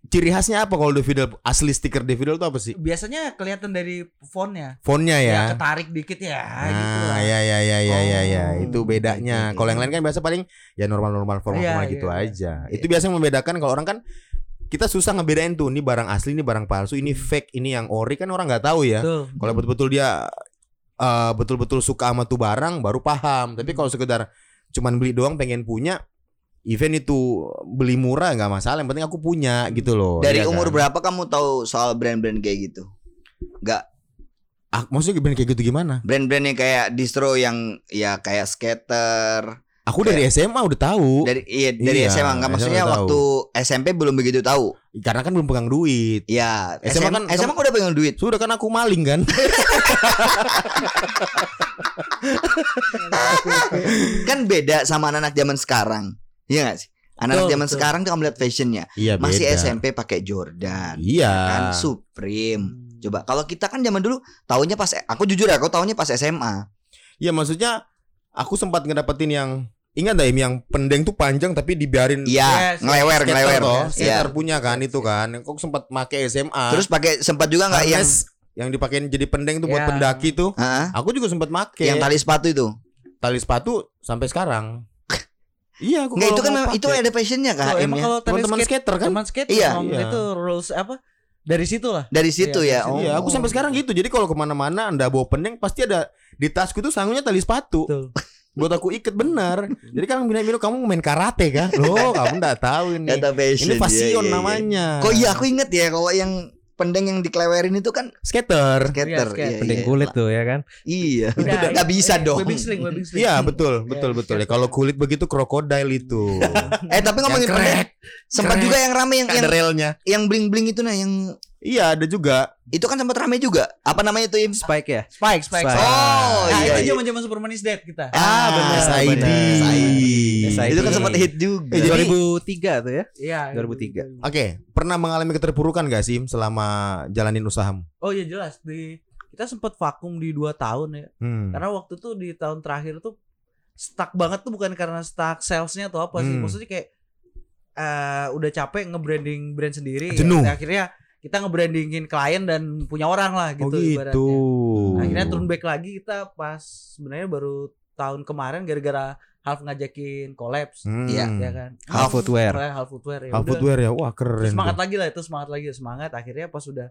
Ciri khasnya apa kalau Davidel asli stiker Davidel itu apa sih?
biasanya kelihatan dari fontnya
Fontnya ya.
ya ketarik dikit ya gitu
Nah,
lah
ya ya ya ya ya ya
Oh.
itu bedanya. Kalau yang lain kan biasa paling ya normal-normal formal-formal
Iya,
gitu
iya.
aja. Itu biasa yang membedakan kalau orang kan kita susah ngebedain tuh ini barang asli, ini barang palsu,
Hmm.
ini fake, ini yang ori kan orang nggak tahu ya.
Tuh.
Kalau betul-betul dia eh, betul-betul suka sama tuh barang baru paham. Tapi
Hmm.
kalau sekedar cuman beli doang pengen punya event itu beli murah nggak masalah. Yang penting aku
Hmm.
punya gitu loh.
Dari
Iya kan?
umur berapa kamu tahu soal brand-brand kayak gitu?
Ah, maksudnya brand kayak gitu gimana?
Brand-brand yang kayak distro yang ya kayak skater.
Aku dari
Iya.
SMA udah tahu.
Dari iya dari
Iya,
SMA enggak maksudnya
SMA tahu.
waktu SMP belum begitu tahu.
Karena kan belum pegang duit.
Ya,
SMA
SMA,
kan-
SMA kok udah pengen duit.
Sudah kan aku maling kan.
Kan beda sama anak-anak zaman sekarang. Iya gak sih? Anak-anak
Betul,
zaman
betul.
sekarang tuh kamu lihat fashionnya
Iya
Masih
beda.
SMP pakai Jordan
Iya.
Kan Supreme
Hmm.
Coba kalau kita kan zaman dulu Tahunnya pas Aku jujur ya Aku tahunnya pas SMA
Iya maksudnya aku sempat ngedapetin yang ingat gak Im yang pendeng tuh panjang tapi dibiarin
Iya
Yes,
Ngelewer
Hmm. skater
Ngelewer
toh.
Iya.
Skater punya kan itu kan. Aku sempat make SMA.
Terus pakai sempat juga nggak yang
Harness yang dipakein jadi pendeng tuh buat
Iya.
pendaki tuh.
Hah?
Aku juga sempat make.
yang tali sepatu itu.
tali sepatu sampai sekarang. iya, aku
Enggak
kalau
itu kan
mau
memang-
pakai. Iya,
itu ada fashionnya
Tuh,
kak Em,
emang
ya?
kalau tadi
teman-teman
skate
skater kan.
Cuman skate
Iya.
emang
Iya.
itu rules apa? Dari situ lah.
Dari situ ya.
Iya, dari situ.
Iya, aku sampai sekarang gitu. Jadi kalau kemana-mana anda bawa pendeng pasti ada di tasku tuh sanggulnya tali sepatu.
Betul.
Buat aku iket benar. Jadi kan bilang bilang kamu main karate kah? Loh, kamu nggak tahu ini.
Kata fashion.
Ini
iya,
fashion
iya, iya.
namanya.
Kok iya aku inget ya kalau yang pendeng yang dikelewerin itu kan
Iya, skater?
skater.
Iya, skater.
Iya,
Pending
iya.
kulit tuh ya kan.
Iya.
Udah,
Udah nggak bisa
eh,
dong.
Webbing sling, webbing sling.
Iya betul betul
Iya,
betul ya.
skater.
Kalau kulit begitu krokodil itu.
Eh tapi ngomongin pendeng, sempat
Krek.
juga yang rame yang
ada
yang,
relnya.
yang bling bling itu nah yang
Iya ada juga.
itu kan sempat rame juga. Apa namanya itu Im?
Spike ya.
Spike, spike.
Ah,
Spike.
Oh,
Nah,
iya,
itu
iya.
zaman-zaman Superman is dead kita.
Ah, benar.
SID.
benar. SID.
Itu kan sempat hit juga.
Ya, Eh,
Iya.
jadi-
2003 tuh ya.
Iya.
2003.
Oke, pernah mengalami keterpurukan gak sih selama jalanin usahamu?
Oh iya jelas di kita sempat vakum di 2 tahun ya.
Hmm.
Karena waktu tuh di tahun terakhir tuh stuck banget tuh bukan karena stuck salesnya atau apa sih
Hmm.
maksudnya kayak eh udah capek nge-branding brand sendiri ya.
Jenuh.
akhirnya kita nge-brandingin klien dan punya orang lah gitu
oh gitu.
ibaratnya. akhirnya turun back lagi kita pas sebenarnya baru tahun kemarin gara-gara half ngajakin collabs
Hmm.
Iya.
ya kan
Half footwear.
Half, half footwear ya
Half
udah.
footwear ya. Wah, keren.
semangat
tuh.
lagi lah itu semangat lagi semangat akhirnya pas sudah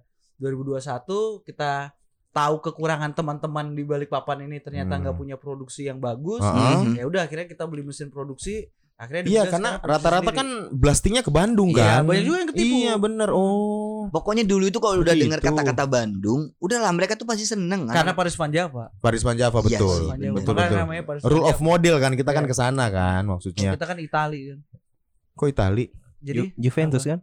2021 kita tahu kekurangan teman-teman di balik papan ini ternyata
Hmm.
nggak punya produksi yang bagus
Mhm.
Heeh.
ya udah akhirnya kita beli mesin produksi akhirnya
Iya,
dibilang
karena
sekarang produksi
rata-rata
sendiri.
kan blastingnya ke Bandung
Iya,
kan.
banyak juga yang ketipu.
Iya, bener. Oh.
Pokoknya dulu itu kalau udah
Begitu.
dengar kata-kata Bandung, udahlah mereka tuh pasti seneng.
karena Paris Panja pak
Paris Panjava
Iya
betul.
sih,
Panja,
bener.
betul,
makanya
betul.
namanya Paris
Rule
Panjava.
of model kan kita kan
Iya.
ke sana kan maksudnya.
kita kan Itali kan
Kok Itali?
jadi
Ju- Juventus kan?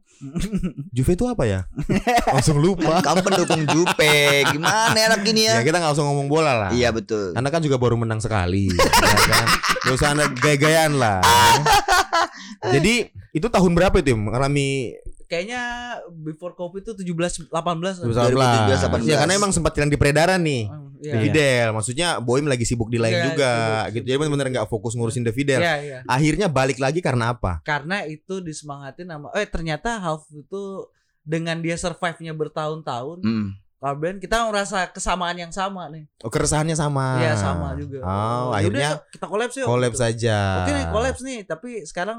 Juve itu apa ya? langsung lupa.
kamu pendukung Jupe, gimana ya lagi nih ya?
ya kita nggak usah ngomong bola lah.
Iya betul.
Anda kan juga baru menang sekali, ya kan? Gak usah anda gaya-gayaan lah. ya kan? Jadi itu tahun berapa itu Im? ngalami
kayaknya before covid itu 17 18
Sebesar- 2017,
2017 Ya karena emang sempat hilang di peredaran nih.
Oh,
The
iya
Fidel, maksudnya Boim lagi sibuk di lain
Iya,
juga,
sibuk,
gitu.
sibuk.
Jadi benar-benar nggak fokus ngurusin The Fidel.
iya iya
Akhirnya balik lagi karena apa?
karena itu disemangatin sama eh ternyata half itu dengan dia survive-nya bertahun-tahun
Mm.
Kalau band kita merasa kesamaan yang sama nih.
Oh, keresahannya sama.
Iya sama juga.
Ah. Oh,
Yaudah,
akhirnya
kita kolaps
Iya,
yuk.
collab
Gitu.
saja.
Oke nih kolaps nih, tapi sekarang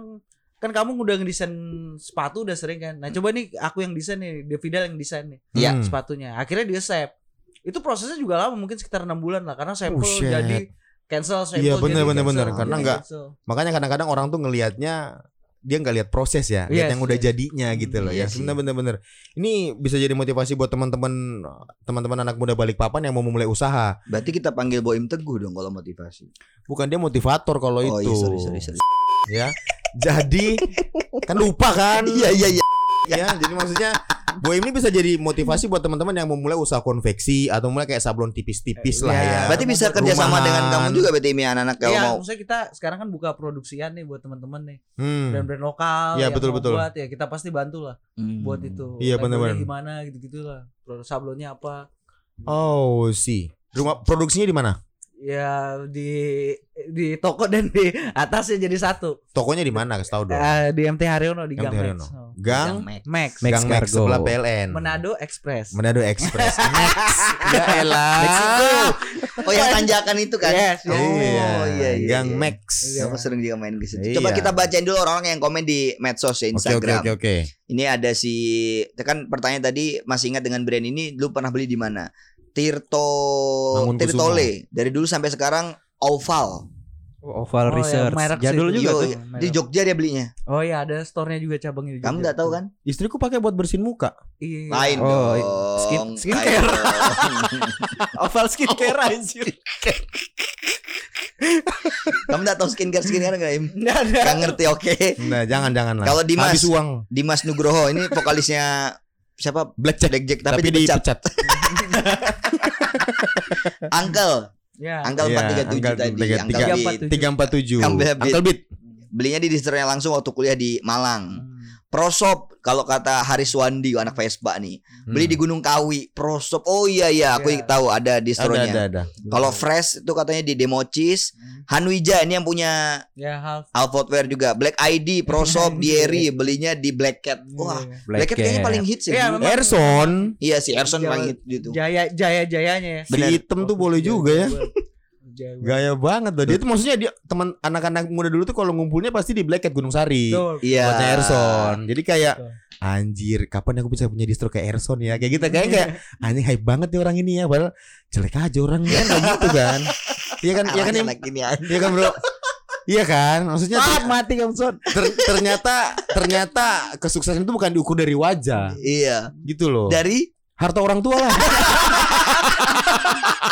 kan kamu udah ngedesain sepatu udah sering kan. Nah, coba nih aku yang desain nih, Devidal yang desain nih
Iya,
Hmm.
sepatunya. Akhirnya dia sep. Itu prosesnya juga lama, mungkin sekitar enam bulan lah karena sample
Buset.
jadi cancel
Oh,
sample.
Iya,
jadi
bener, bener,
cancel,
bener.
jadi
Karena nggak-
cancel.
Makanya kadang-kadang orang tuh ngelihatnya dia nggak lihat proses ya, lihat
Yes,
yang udah
yes.
jadinya gitu
Hmm,
loh
iya
ya.
sih.
Sebenarnya bener-bener. Ini bisa jadi motivasi buat teman-teman teman-teman anak muda Balikpapan yang mau memulai usaha.
berarti kita panggil Boim Teguh dong kalau motivasi.
Bukan dia motivator kalau
Oh, iya,
itu.
sorry, sorry, sorry.
Ya. Jadi kan lupa kan?
Iya, iya, iya.
ya jadi maksudnya Boim ini bisa jadi motivasi buat teman-teman yang mau mulai usaha konveksi atau mulai kayak sablon tipis-tipis lah
Iya.
ya.
Berarti bisa kerja sama
Rumahan.
dengan kamu juga berarti ini anak-anak kalau
Iya,
mau.
maksudnya kita sekarang kan buka produksian nih buat teman-teman nih.
Hmm.
Brand-brand lokal
Iya,
yang
betul,
mau
betul.
buat ya kita pasti bantu lah buat itu.
Iya,
Labelnya
bener-bener.
Gimana gitu-gitu lah. Produk sablonnya apa.
Oh sih. Rumah produksinya di mana?
ya di di toko dan di atasnya jadi satu.
Tokonya di mana? Kasih tahu dong.
Iya.
Eh, di MT Haryono di
MT
Gang
Haryono.
Max.
Gang
Max.
Max
Gang Max
Cargo.
sebelah PLN.
Manado Express.
Manado Express. Max. ya elah.
Oh yang tanjakan itu kan?
Yes,
Oh,
yes.
iya.
iya, iya,
Gang
iya.
Max.
Iya, Aku sering juga main ke situ.
Iya.
Coba kita bacain dulu orang-orang yang komen di medsos ya
Oke
Instagram.
oke oke oke.
Ini ada si kan pertanyaan tadi masih ingat dengan brand ini lu pernah beli di mana? Tirto
Mangunkusumo.
Tirtole dari dulu sampai sekarang Oval
Oval
Oh,
Research.
yang merek sih
Jadul
itu.
juga
Yo,
tuh.
iya. di Jogja dia belinya.
Oh iya ada store-nya juga cabangnya di
Kamu nggak tahu kan?
Istriku pakai buat bersihin muka.
Iya.
Lain
Oh,
dong.
skin-
Lain
skincare.
dong.
Oval skincare anjir.
Kamu nggak tahu skincare skincare nggak Im?
Nggak ada.
Nggak ngerti oke.
Nah jangan jangan lah.
Kalau Dimas-
habis uang
Dimas Nugroho ini vokalisnya siapa?
black Jack,
Jack Jack tapi,
tapi,
dipecat.
dipecat.
Uncle,
Ya.
Uncle
Iya,
437
Uncle
tadi.
337.
Uncle Beat.
Tiga empat tujuh.
Tiga empat tujuh.
Ambil habis.
Uncle Beat.
Belinya di distronya langsung waktu kuliah di
Hmm.
Malang.
Hmm.
Prosop kalau kata Haris Wandi anak Vespa nih. Beli di Gunung Kawi, Prosop. Oh iya iya, aku
Iya.
tahu ada
Hmm. Ada ada
distronya.
ada.
Kalau Fresh itu katanya di Democis. Hanwija ini yang punya
Hmm. Ya half.
Al Footwear juga. Black ID, Prosop, Dieri belinya di Black Cat. Wah,
Hmm.
Iya.
Black Cat kayaknya paling hits
Iya,
ya. dulu.
memang.
Erson
Iya si Erson
Jawa-
paling hits gitu.
Jaya jaya jayanya ya.
si
Bener.
hitam tuh boleh juga ya.
Jawa.
Gaya banget loh. Dia tuh maksudnya dia teman anak-anak muda dulu tuh kalau ngumpulnya pasti di Black Cat Gunung Sari.
Betul.
Iya.
Buatnya Erson. Jadi kayak
Ya. Betul.
anjir, kapan aku bisa punya distro kayak Erson ya? Kayak gitu kayak kayak anjing hype banget nih orang ini ya. Padahal jelek aja orangnya kan kayak gitu kan. Iya kan, iya kan,
Arahnya
Im?
anak Ah, ini ya. aja.
iya kan bro. Iya kan, maksudnya
Ah, mati kamu son.
ter- ternyata ternyata kesuksesan itu bukan diukur dari wajah
Iya.
gitu loh.
Dari
Harta orang tua lah.
Aduh,
Iya kan?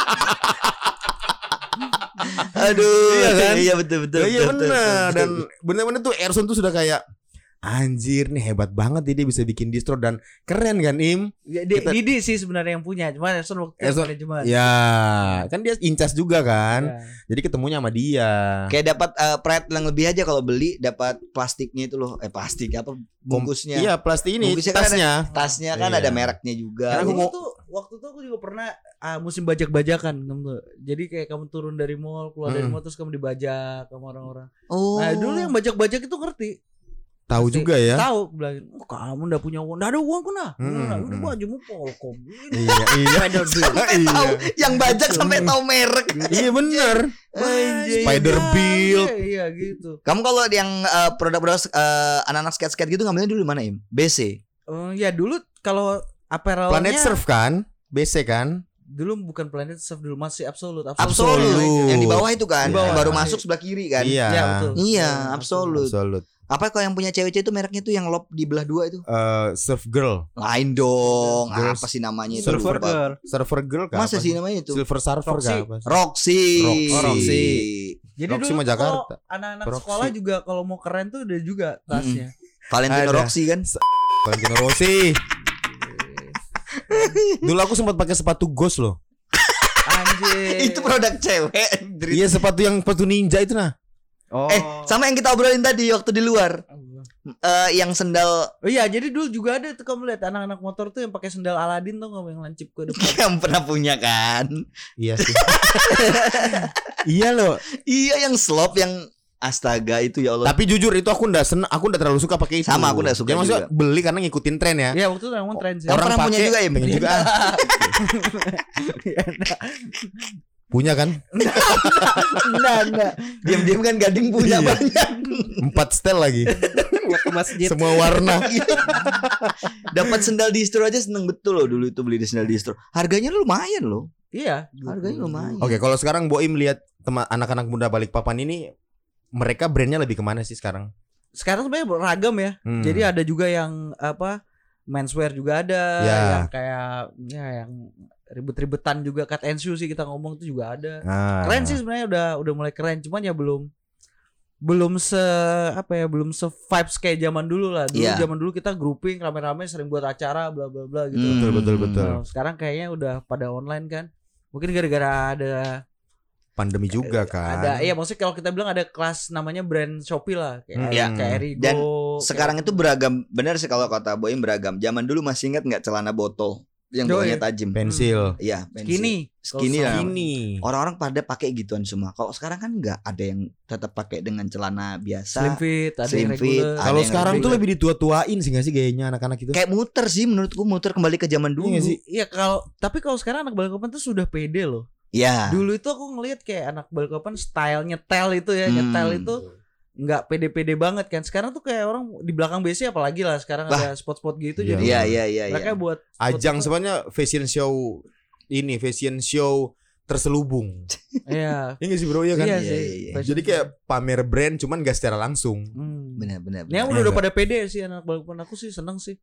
Iya betul betul.
Ya, iya
betul, betul,
benar
Iya, betul.
Iya, dan benar-benar tuh Erson tuh sudah kayak anjir nih hebat banget dia, dia bisa bikin distro dan keren kan Im
Ya, di-
Kita-
Didi sih sebenarnya yang punya, cuman Erson waktu itu
Erson-
manajemen.
ya kan dia incas juga kan
Ya.
jadi ketemunya sama dia
Kayak dapat eh, pride yang lebih aja kalau beli dapat plastiknya itu loh. Eh plastik apa bungkusnya.
iya plastik ini
Bungkusnya kan
tasnya
Tasnya kan
Iya.
ada mereknya juga.
Karena aku
Dulu
mau-
tuh, waktu itu aku juga pernah ah, musim bajak-bajakan, temen tuh. Jadi kayak kamu turun dari mall, keluar dari
Mm.
mall terus kamu dibajak sama orang-orang.
Oh.
Nah, dulu yang bajak-bajak itu ngerti.
tahu
Pasti.
juga ya
Tahu bilangin, oh, kamu ndak punya uang, ndak ada uang kena.
Mm,
Nah, udah
mm.
bajumu polkom. Ini
iya iya
Sampai tahu yang bajak sampai tahu merek.
iya bener
anjing.
Spider
Ya,
build.
Iya, iya, gitu.
Kamu kalau yang eh, produk-produk eh, anak-anak skate-skate gitu ngambilnya dulu di mana Im? BC.
Eh, ya dulu kalau apparelnya
planet surf kan BC kan
dulu bukan planet surf dulu masih absolut
Absolut.
Absolut.
Yang di bawah itu kan,
Di bawah.
yang baru masuk sebelah kiri kan.
iya
Ya, betul.
Iya,
Iya,
absolut.
absolut
Apa kalau yang punya cewek itu mereknya tuh yang lop di belah dua itu?
Eh, surf girl
Lain dong.
Girls-
Apa sih namanya itu?
Surfer
Surfer
Lupa.
girl.
surfer girl kan
Masa sih namanya itu?
silver surfer
Roxy.
kan apa sih?
Roxy.
Roxy.
Roxy.
Jadi
Roxy
dulu
mah Jakarta.
kalau anak-anak
Roxy.
sekolah juga kalau mau keren tuh udah juga tasnya.
Valentino
Ada.
Roxy kan?
Valentino Rossi dulu aku sempat pakai sepatu ghost loh
Anjir.
Itu produk cewek.
Iya sepatu yang sepatu ninja itu nah.
Oh.
Eh, sama yang kita obrolin tadi waktu di luar. Eh, yang sendal
Oh iya, jadi dulu juga ada tuh kamu lihat anak-anak motor tuh yang pakai sendal Aladin tuh nggak yang lancip ke depan.
yang pernah punya kan?
Iya sih. iya loh.
Iya, yang slop yang astaga itu ya Allah.
Tapi jujur itu aku ndak seneng, aku ndak terlalu suka pakai itu.
Sama, aku ndak suka
Ya, maksudnya
juga.
beli karena ngikutin tren ya.
Iya, waktu itu emang tren sih.
Oh, Orang pernah punya
pakai,
juga, Im?
pengen
Iya.
juga. ah. punya kan?
Enggak, enggak.
Diam-diam kan gading punya
Iya.
banyak.
Empat style lagi.
buat ke masjid.
Semua warna.
Dapat sendal distro aja seneng betul loh dulu itu beli di sendal distro. Harganya lumayan loh.
Iya,
Harganya lumayan.
Oke, kalau sekarang Boim lihat teman anak-anak muda balik papan ini mereka brandnya lebih kemana sih sekarang?
Sekarang sebenarnya beragam ya.
Hmm.
Jadi ada juga yang apa? Menswear juga ada,
Iya.
Ya.
yang kayak ya yang ribut-ribetan juga cut and shoe sih kita ngomong itu juga ada.
Ah.
keren sih sebenarnya udah udah mulai keren cuman ya belum belum se apa ya belum se vibes kayak zaman dulu lah dulu
Iya.
zaman dulu kita grouping rame-rame sering buat acara bla bla bla gitu
Hmm.
Oh, Betul betul betul.
Nah, sekarang kayaknya udah pada online kan mungkin gara-gara ada
Pandemi juga kan.
ada ya maksudnya kalau kita bilang ada kelas namanya brand Shopee lah kayak ya,
Iya.
kayak Erigo
Hmm. Dan
kayak-
Sekarang itu beragam. Benar sih kalau kata Boim beragam. Zaman dulu masih ingat nggak celana botol yang
Yo,
bawahnya
iya.
tajam?
pensil.
Iya, pensil.
skinny
Skinny
Kalau
lah.
Ini.
Hmm.
Orang-orang pada pakai gituan semua. Kalau sekarang kan nggak ada yang tetap pakai dengan celana
slim
biasa.
fit ada
Slim
yang
fit,
regular
ada
Kalau
yang
sekarang tuh
regular.
lebih ditua-tuain sih gak sih gayanya anak-anak itu?
Kayak muter sih menurutku muter kembali ke zaman dulu.
Iya sih?
Iya kalau tapi kalau sekarang anak balik papan tuh sudah pede loh
Iya.
Dulu itu aku ngelihat kayak anak balkopan style nyetel itu ya,
Hmm.
nyetel itu nggak pede-pede banget kan. Sekarang tuh kayak orang di belakang BC apalagi lah sekarang
Bah.
ada spot-spot gitu
Iya,
jadi
Iya, iya, iya, iya.
mereka buat
Ajang sebenarnya fashion show ini fashion show terselubung.
ya
Iya gak sih bro ya kan?
iya
Iya,
sih.
iya, iya.
fashion
Jadi kayak pamer brand cuman gak secara langsung.
Hmm.
Benar, benar.
Ini yang
benar.
udah, udah
Iya,
pada pede sih anak balkopan aku sih seneng sih.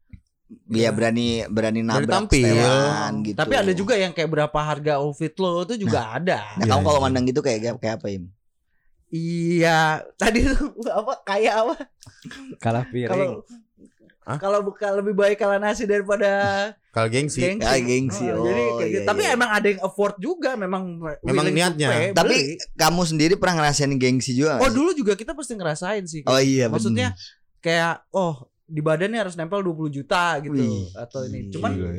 Iya berani berani
Berani
nabrak
tampil.
setelan gitu.
Tapi ada juga yang kayak berapa harga outfit lo itu juga ada.
Nah,
Iya,
kamu kalau
iya.
mandang gitu kayak kayak apa Im?
Iya, tadi tuh apa kayak apa
Kalah piring.
kalau
Hah?
kalau buka lebih baik kalah nasi daripada
Kalau gengsi.
Gengsi.
Ah, gengsi.
Ah,
Oh,
jadi kayak gitu.
iya,
tapi
iya.
emang ada yang afford juga memang
Memang
willing to
niatnya.
pay,
Tapi
beli.
kamu sendiri pernah ngerasain gengsi juga? nggak
oh
sih?
dulu juga kita pasti ngerasain sih.
Oh iya.
Maksudnya kayak oh di badannya harus nempel 20 juta gitu
Wih,
atau ini.
gila.
Cuman
Iya,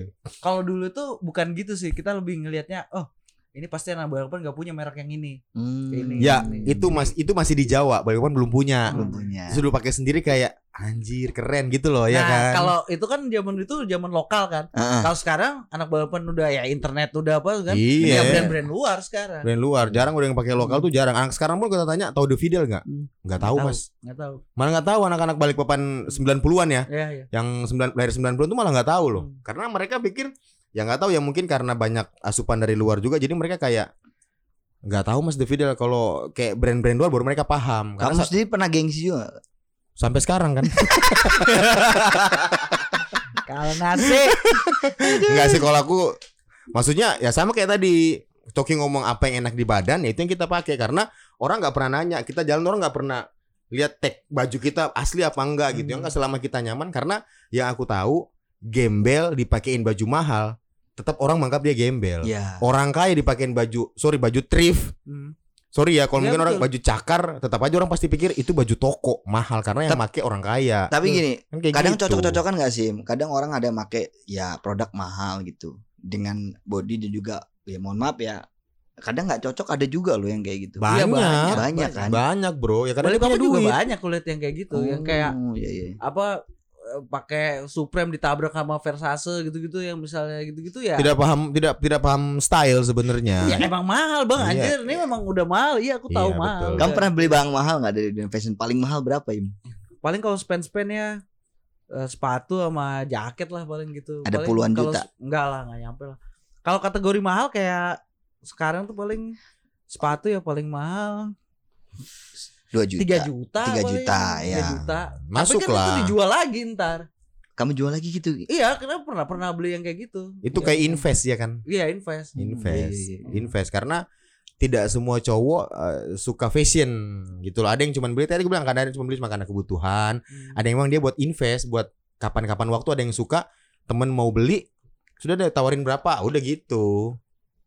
kalau dulu tuh bukan gitu sih. Kita lebih ngelihatnya oh ini pasti anak balapan nggak punya merek yang ini.
bener. Hmm.
Ini.
Ya itu mas itu masih di Jawa. Bagaimanapun belum punya.
Hmm.
Belum punya.
Terus dulu pakai sendiri kayak anjir keren gitu loh ya
nah,
kan.
kalau itu kan zaman itu zaman lokal kan.
Iya Heeh.
Kalau sekarang anak balapan udah ya internet udah apa kan.
Iya.
Ya, brand-brand luar sekarang.
Brand luar jarang udah yang pakai lokal tuh jarang. Anak sekarang pun kita tanya tahu The Fidel nggak?
Hmm.
Nggak tahu
Nggak
mas.
Nggak tahu.
Malah nggak tahu anak-anak balik papan 90-an ya.
Ya ya.
yang 9 lahir 90 itu malah nggak tahu loh.
Hmm.
Karena mereka pikir ya nggak tahu ya mungkin karena banyak asupan dari luar juga jadi mereka kayak nggak tahu Mas Davidel kalau kayak brand-brand luar baru mereka paham. Karena
Kamu
sa-
sendiri pernah gengsi juga? nggak?
sampai sekarang kan.
Kalau nasi
Enggak sih kalau aku maksudnya ya sama kayak tadi Coki ngomong apa yang enak di badan ya itu yang kita pakai karena orang nggak pernah nanya kita jalan orang nggak pernah lihat tag baju kita asli apa enggak gitu. Ya enggak selama kita nyaman karena yang aku tahu gembel dipakein baju mahal tetap orang menganggap dia gembel.
Ya.
Orang kaya dipakein baju sorry baju thrift.
Hmm.
Sorry ya kalau
Iya,
mungkin orang
betul.
baju cakar tetap aja orang pasti pikir itu baju toko mahal karena yang
Tep-
make orang kaya.
Tapi gini,
Kan kayak
kadang
gitu.
cocok-cocokan gak sih? Kadang orang ada make ya produk mahal gitu dengan body dan juga ya mohon maaf ya. Kadang nggak cocok ada juga loh yang
Iya,
kayak gitu.
Banyak.
banyak, banyak kan.
Banyak bro ya karena
Balik
dia punya
aku juga
duit.
banyak kulit yang kayak gitu, yang kayak
Oh, iya, iya.
apa eh, pakai Supreme ditabrak sama Versace gitu-gitu yang misalnya gitu-gitu ya.
tidak paham tidak tidak paham style sebenarnya.
Ya emang mahal bang
Iya.
anjir Ini memang udah mahal Iya aku tahu
Iya,
mahal
betul.
Udah.
Kamu pernah beli barang mahal nggak dari dunia fashion? Paling mahal berapa, Im?
Paling kalau spend-spend ya eh, Sepatu sama jaket lah paling gitu
Ada
Paling
puluhan
kalau-
juta.
Enggak lah nggak nyampe lah Kalau kategori mahal kayak Sekarang tuh paling Sepatu ya paling mahal
2 juta.
3 juta
3
paling.
juta,
3
ya.
juta Tapi
Masuk
kan itu
lah.
dijual lagi ntar
Kamu jual lagi gitu.
Iya kenapa pernah pernah beli yang kayak gitu
Itu
Iya.
kayak invest ya kan?
Iya invest
Invest.
Iya, iya,
Invest karena tidak semua cowok eh, suka fashion gitu loh. Ada yang cuma beli tadi gue bilang kadang ada yang cuma beli cuma karena kebutuhan. Ada yang emang dia buat invest buat kapan-kapan waktu ada yang suka temen mau beli sudah ada tawarin berapa udah gitu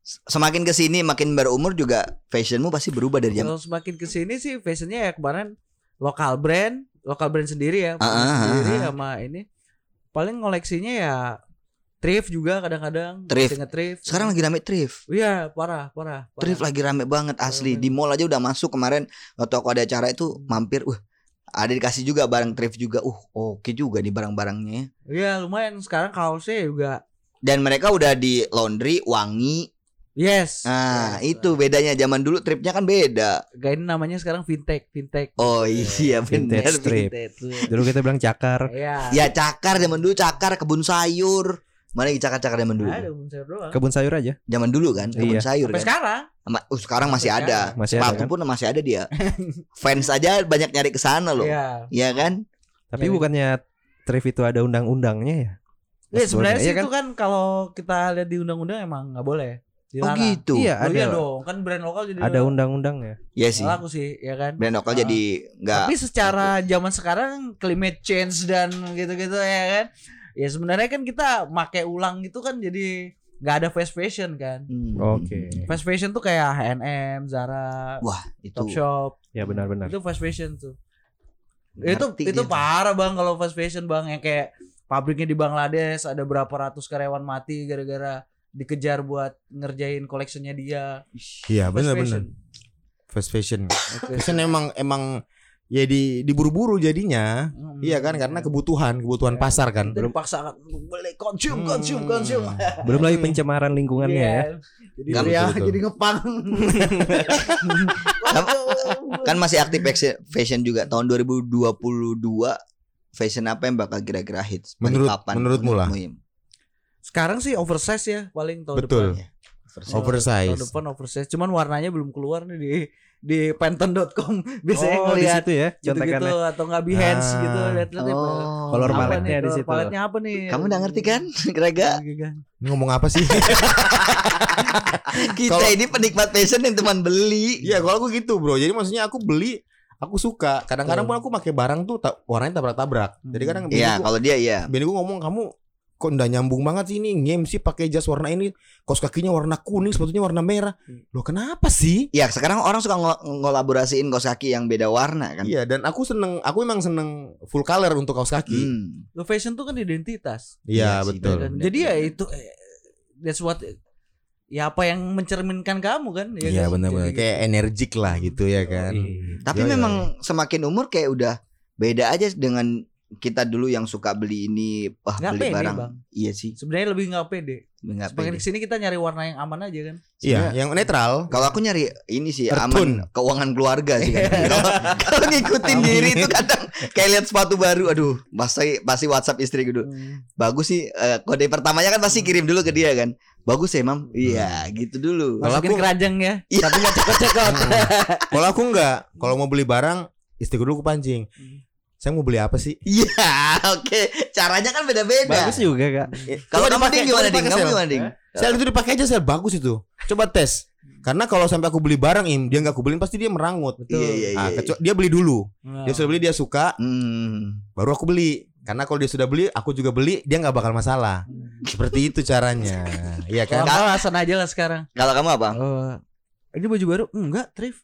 Semakin ke sini makin berumur juga fashionmu pasti berubah dari zaman.
Kalau semakin ke sini sih fashionnya ya kemarin lokal brand, lokal brand sendiri ya,
Ah, ah,
sendiri
ah, ah.
sama ini. Paling koleksinya ya thrift juga kadang-kadang,
Thrift.
masih nge-thrift.
Sekarang lagi rame thrift.
Iya, parah, parah. parah.
Thrift lagi rame banget asli.
Rame.
Di mall aja udah masuk kemarin waktu aku ada acara itu mampir. Uh, ada dikasih juga barang thrift juga. Uh, oke juga nih barang-barangnya. ya.
Iya, lumayan sekarang kaosnya juga.
Dan mereka udah di laundry, wangi.
Yes.
Nah,
Yes.
itu bedanya zaman dulu tripnya kan beda.
Kayak ini namanya sekarang fintech, fintech.
Oh iya benar.
Vintage thrift.
Fintech.
Dulu kita bilang cakar.
Iya.
Ya cakar zaman dulu cakar kebun sayur. Mana lagi cakar-cakar zaman dulu?
Ada bonsai doang.
Kebun sayur aja.
Zaman dulu kan kebun
Iya.
sayur
Sampai
kan.
sekarang.
Ma- uh, sekarang masih
Sampai
ada.
sekarang.
Masih ada
Sepatu
kan?
pun masih ada dia. Fans aja banyak nyari ke sana loh. Iya
Iya.
kan?
Tapi
Iya.
bukannya thrift itu ada undang-undangnya ya?
Ya
Mas
sebenarnya
Bono,
sih
iya kan?
itu kan kalau kita lihat di undang-undang emang nggak boleh.
Oh
Dilarang.
gitu.
Iya,
Oh
ada.
iya dong, kan brand lokal jadi
Ada undang-undangnya.
Iya sih.
salah aku sih, ya kan.
Brand lokal
Ah.
jadi nggak
Tapi secara zaman sekarang climate change dan gitu-gitu ya kan. Ya sebenarnya kan kita make ulang gitu kan jadi nggak ada fast fashion kan.
Hmm.
Oke.
Fast fashion tuh kayak H&M, Zara,
Wah, itu
Topshop.
Ya benar-benar.
Itu fast fashion tuh. itu
ngerti gitu.
itu
dia tuh.
parah Bang kalau fast fashion Bang yang kayak pabriknya di Bangladesh ada berapa ratus karyawan mati gara-gara dikejar buat ngerjain koleksinya dia.
iya
Fast
benar-benar
fashion.
fast fashion
Fast
fashion
fashion.
emang emang ya di diburu-buru jadinya
Mm.
iya kan karena kebutuhan kebutuhan
Iya.
pasar kan
belum paksa beli konsum
Hmm.
konsum konsum
Belum lagi pencemaran lingkungannya
Iya.
ya.
jadi
Nggak
ya
betul-betul.
jadi ngepang
kan masih aktif fashion- fashion juga tahun 2022 fashion apa yang bakal kira-kira hits Paling
Menurut- menurutmu lah.
menurutmu, Im?
sekarang sih oversize ya paling tahun
Betul.
depan
Versi-
Tahun- tahun
oversize
depan oversize cuman warnanya belum keluar nih di di pantone.com biasanya
oh, di
ngeliat
situ ya
gitu gitu
contekannya.
atau nggak behance
Ah.
gitu lihat-lihat nih, apa
Oh.
Color
nih,
palette-nya di
color
situ.
palette-nya apa nih Iya,
kamu udah ngerti kan kira-kira
Ini ngomong apa sih
kita
Kalau-
ini penikmat fashion yang teman beli
Iya, kalau aku gitu, Bro. Jadi maksudnya aku beli, aku suka. Kadang-kadang pun aku pakai barang tuh ta- warnanya tabrak-tabrak. Jadi kadang bini,
Iya
gua,
kalau dia ya
bini gua ngomong, "Kamu kok ndak nyambung banget sih ini? Ngem sih pakai jas warna ini, kaos kakinya warna kuning, sepatunya warna merah."
Hmm.
Loh, kenapa sih?
Ya sekarang orang suka ngo- ngolaborasiin kaos kaki yang beda warna kan
Iya, dan aku seneng, aku emang seneng full color untuk kaos kaki.
Hmm.
lo fashion tuh kan identitas
Iya
Iya,
sih,
betul.
bener.
Dan jadi ya itu eh, that's what ya apa yang mencerminkan kamu kan ya
Iya,
kan?
benar-benar
Jadi-
kayak energik lah gitu ya kan.
Tapi
Iya, iya,
memang semakin umur kayak udah beda aja dengan kita dulu yang suka beli ini wah
Nggak
beli
pede,
barang
Bang.
iya sih
sebenarnya lebih nggak pede.
nggak
Semakin
pede.
gitu.
kesini kita nyari warna yang aman aja kan.
Iya, yang netral.
Kalau aku nyari ini sih
Earthbound.
aman keuangan keluarga sih. kadang. Kalau kalau ngikutin diri itu kadang kayak lihat sepatu baru, aduh, pasti pasti WhatsApp istri gitu. Bagus sih eh, kode pertamanya kan pasti kirim dulu ke dia kan. Bagus ya, Mam.
Hmm.
Iya, gitu dulu.
Kalau
Masukin
aku- Iya.
keranjang ya.
Iya.
Tapi nggak cekot-cekot.
Kalau aku enggak, kalau mau beli barang, istri gua dulu aku pancing.
Hmm.
Saya mau beli apa sih?
Iya, oke. Caranya kan beda-beda.
Bagus juga kak.
Kalau
Coba
kamu
dipakai, Eh?
ding gimana
coba
ding?
dipakai,
Kamu
Sel.
gimana ding?
Sel itu dipakai aja sel bagus itu. Coba tes. Karena kalau sampai aku beli barang im, dia nggak aku beliin pasti dia merangut.
Iya, iya, iya,
Ah,
iya.
kecuali- dia beli dulu.
Nah.
Dia sudah beli dia suka,
Hmm.
baru aku beli. Karena kalau dia sudah beli, aku juga beli, dia nggak bakal masalah. Seperti itu caranya. Iya kan?
Kalau nggak, alasan aja lah sekarang.
Kalau kamu apa?
Oh,
Eh, ini baju baru? Enggak, Trif.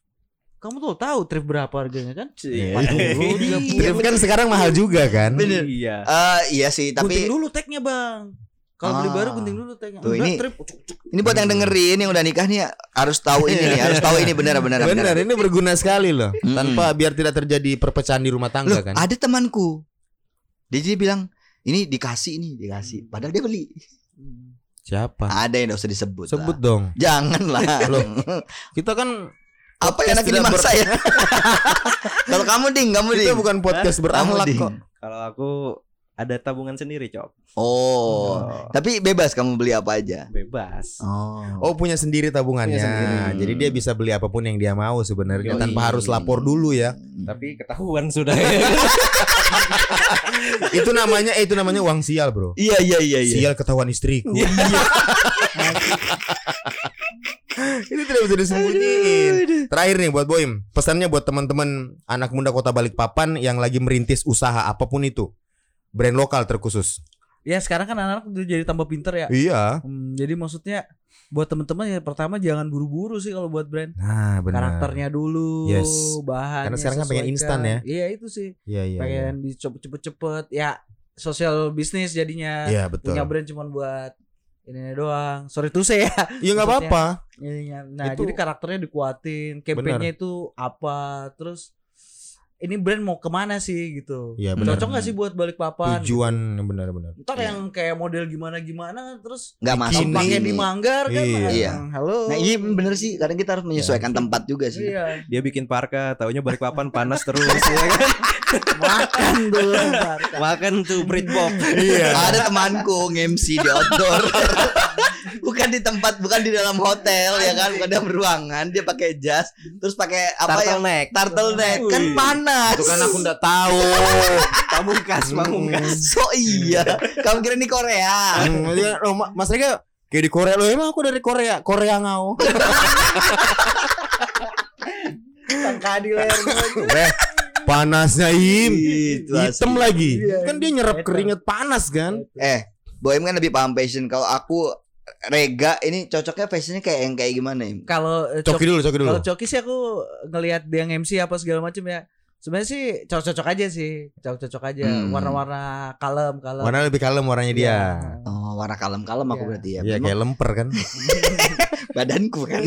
Kamu tuh tahu Trif berapa harganya kan?
Iya.
Dulu
Iya.
30.
Tapi kan sekarang mahal juga kan?
Bener.
Iya.
Eh, iya sih,
Gunting
tapi
dulu tagnya bang. Kalau beli
Ah.
baru gunting dulu tagnya.
Tuh,
Enggak,
ini-
Trif. Ucuk, ucuk.
ini buat yang dengerin yang udah nikah nih harus tahu ini nih, harus tahu ini benar benar
Benar,
benar.
ini berguna sekali loh.
Mm-mm.
Tanpa biar tidak terjadi perpecahan di rumah
Loh, ah.
tangga kan?
ada temanku. Dia jadi bilang, "Ini dikasih nih, dikasih." Padahal dia beli.
Siapa?
Ada yang enggak usah disebut.
Sebut
lah.
dong.
Janganlah.
Loh. Kita kan
Apa yang
Podcast
anak ini
tidak ber-
maksa ya? Kalau kamu ding, kamu ding.
kita bukan podcast
kamu
berakhlak
ding.
kok.
Kalau aku ada tabungan sendiri, Cok.
Oh.
Oh,
Tapi bebas kamu beli apa aja.
bebas.
Oh.
Oh punya sendiri tabungannya.
Punya sendiri.
Jadi dia bisa beli apapun yang dia mau
Yoi.
sebenarnya Ya, tanpa harus lapor dulu ya.
Tapi ketahuan sudah.
itu namanya eh, itu namanya uang sial, Bro.
Iya iya iya iya.
Sial ketahuan istriku. Ini tidak bisa disembunyiin. Terakhir nih buat Boim, pesannya buat teman-teman anak muda Kota Balikpapan yang lagi merintis usaha apapun itu. Brand lokal terkhusus.
Ya sekarang kan anak-anak udah jadi tambah pinter ya.
Iya.
Hmm, jadi maksudnya buat teman-teman ya pertama jangan buru-buru sih kalau buat brand.
Nah, benar.
Karakternya dulu,
Yes.
bahannya.
Karena sekarang kan pengen
sesuaikan.
instan ya.
Iya itu sih.
Iya, iya. iya.
pengen dicoba cepet-cepet. Ya sosial bisnis jadinya.
Iya, betul.
Punya brand cuma buat ini doang. Sorry tuh saya.
Iya nggak
maksudnya-
apa-apa.
Ininya. Nah,
Itu-
jadi karakternya dikuatin, kampanyenya itu apa, terus ini brand mau kemana sih gitu.
Iya, benar.
Cocok gak sih buat Balikpapan?
Tujuan benar-benar.
Ntar yang kayak model gimana-gimana terus
Enggak masuk
Ini-
pakai
pakai
di Manggar kan.
Iya.
Bang. Halo.
Nah, iya bener sih. Kadang kita harus menyesuaikan tempat juga sih.
Iya.
Dia bikin parka, taunya balik papan panas terus. ya kan?
Makan dulu. Bar.
Makan tuh Britpop.
Iya.
Ada temanku nge-MC di outdoor. bukan di tempat, bukan di dalam hotel ya kan, bukan dalam ruangan. Dia pakai jas, terus pakai apa yang
Turtleneck.
turtleneck. Kan
Wih.
panas.
Itu kan aku nggak tahu.
Pamungkas, pamungkas.
So iya. Kamu kira ini Korea?
Hmm, dia, loh, Ma- Mas Rega kayak di Korea loh emang aku dari Korea Korea ngau
Tangka di leher gua.
Weh, panasnya im
Itu
hitam
asli.
lagi
Iya,
kan dia nyerap
iya.
keringat panas kan
Eh, Boem kan lebih paham fashion. Kalau aku Rega ini cocoknya fashionnya kayak yang kayak gimana ya?
Kalau eh,
coki dulu coki dulu
Kalau Coki sih aku ngelihat dia MC apa segala macam ya. Sebenarnya sih cocok-cocok aja sih, cocok-cocok aja.
Hmm.
Warna-warna kalem, kalem.
warna lebih kalem warnanya dia
Iya.
Oh, warna kalem-kalem aku
Iya.
berarti ya.
Iya
Memang
kayak lemper kan
badanku kan.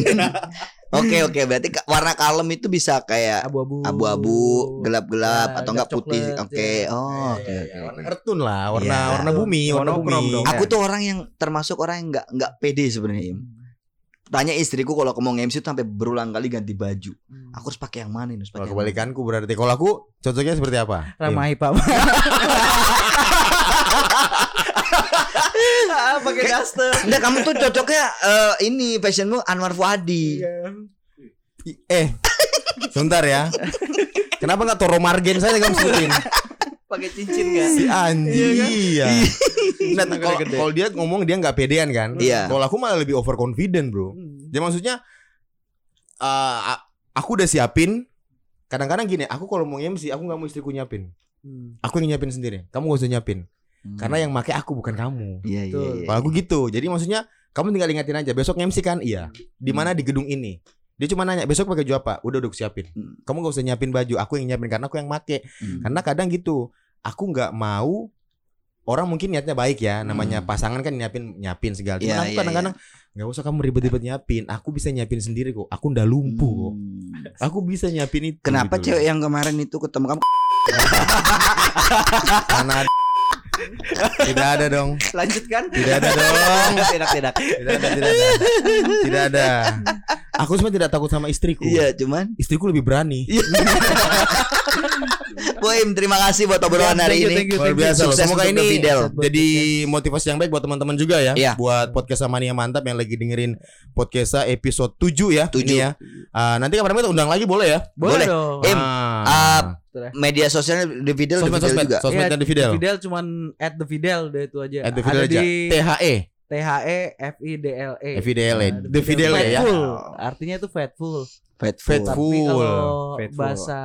Oke oke berarti ka- warna kalem itu bisa kayak
abu-abu
abu-abu, gelap-gelap
Ya,
atau enggak
gelap
putih.
coklat,
Oke.
ya.
Oh,
Ya,
oke
ya,
oke.
ya,
oke.
warna
Ertun lah warna
Iya.
warna bumi
Warna
warna
okram
bumi
Iya.
dong.
Aku tuh orang yang termasuk orang yang nggak nggak pede sebenarnya. Im. Tanya istriku kalau mau MC tuh sampai berulang kali ganti baju.
Hmm.
Aku harus pakai yang mana ini? Harus pakai
kalau
yang mana?
kebalikanku berarti kalau aku cocoknya seperti apa Im?
ramai pak Ah, pakai daster
Enggak, kamu tuh cocoknya eh, ini fashionmu Anwar
Iya.
Fuadi.
eh sebentar ya kenapa nggak Toro Margen saja kamu sebutin
pakai cincin kan
si anjing iya Nah,
Gede-gede.
kalau kalau dia ngomong dia nggak pedean kan
Iya.
kalau aku malah lebih overconfident bro
Hmm.
ya maksudnya eh, a- aku udah siapin kadang-kadang gini aku kalau mau MC aku nggak mau istriku nyiapin aku yang nyiapin sendiri kamu gak usah nyiapin karena yang make aku bukan kamu
Iya iya.
Betul.
Hmm. iya.
kalau aku gitu jadi maksudnya kamu tinggal ingatin aja besok MC kan iya di mana di gedung ini dia cuma nanya besok pakai baju apa udah udah aku siapin
Hmm.
kamu gak usah nyiapin baju aku yang nyiapin karena aku yang make
Hmm.
karena kadang gitu, aku nggak mau orang mungkin niatnya baik ya, namanya
Hmm.
pasangan kan nyiapin nyiapin segala.
Iya,
Cuman aku
iya,
kadang-kadang nggak usah kamu ribet-ribet nyiapin, aku bisa nyiapin sendiri kok. Aku udah lumpuh kok.
Hmm.
Aku bisa nyiapin itu.
Kenapa
gitu.
cewek yang kemarin itu ketemu kamu
Karena ada- tidak ada dong,
Lanjutkan.
tidak ada
Oh,
dong,
Tidak, tidak.
tidak ada, tidak ada, tidak ada. Aku sebenarnya tidak takut sama istriku.
Iya, cuman
Istriku lebih berani.
Iya. Boim terima kasih buat obrolan hari ini.
Luar biasa loh.
Sukses
Semoga
untuk The
ini
Fidel.
jadi motivasi yang baik buat teman-teman juga ya.
Iya.
Buat podcast Samania mantap yang lagi dengerin podcast episode 7 ya.
Tujuh.
Ini ya. Ah, nanti kapan-kapan kita undang lagi boleh ya?
Boleh.
boleh dong
Em, ah,
Ah,
Media sosialnya The Fidel, The
sosmed
Fidel
sosmed
juga.
sosmednya
Iya,
The Fidel.
Fidel cuman at the Fidel udah itu aja
At The Fidel
ada
aja.
di
THE.
T H E F I D L E.
Fidele, The Fidele ya.
Fatful. Artinya itu faithful.
Faithful.
Tapi
Full.
kalau
Faithful.
bahasa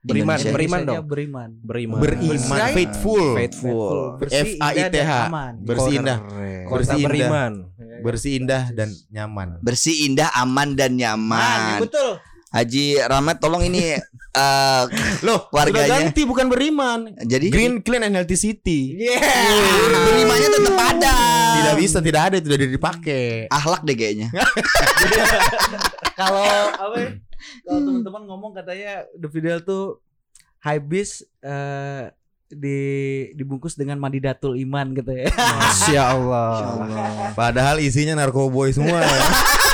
Beriman,
Indonesia.
beriman
Indonesianya
dong.
Beriman.
Beriman.
Beriman,
Bersih.
faithful,
Faithful.
Bersih,
F A I
indah,
T H. E.
dan aman.
bersih indah,
Kota
Bersih indah.
beriman.
bersih indah dan nyaman.
Bersih, indah, aman dan
Man,
Ah,
ya
nyaman.
betul.
Haji Rahmat tolong ini eh
Loh,
Warganya.
sudah ganti bukan beriman.
jadi Iya.
Green, clean and healthy city. Ah,
Yeah. Berimannya tetap ada.
Tidak bisa, tidak ada, tidak ada dipakai.
Ahlak deh kayaknya.
Kalau apa? ya? Kalau teman-teman ngomong katanya The Fidel tuh habis eh di dibungkus dengan madidatul iman gitu ya.
Masya Allah.
Allah.
Padahal isinya narkoboy semua. ya.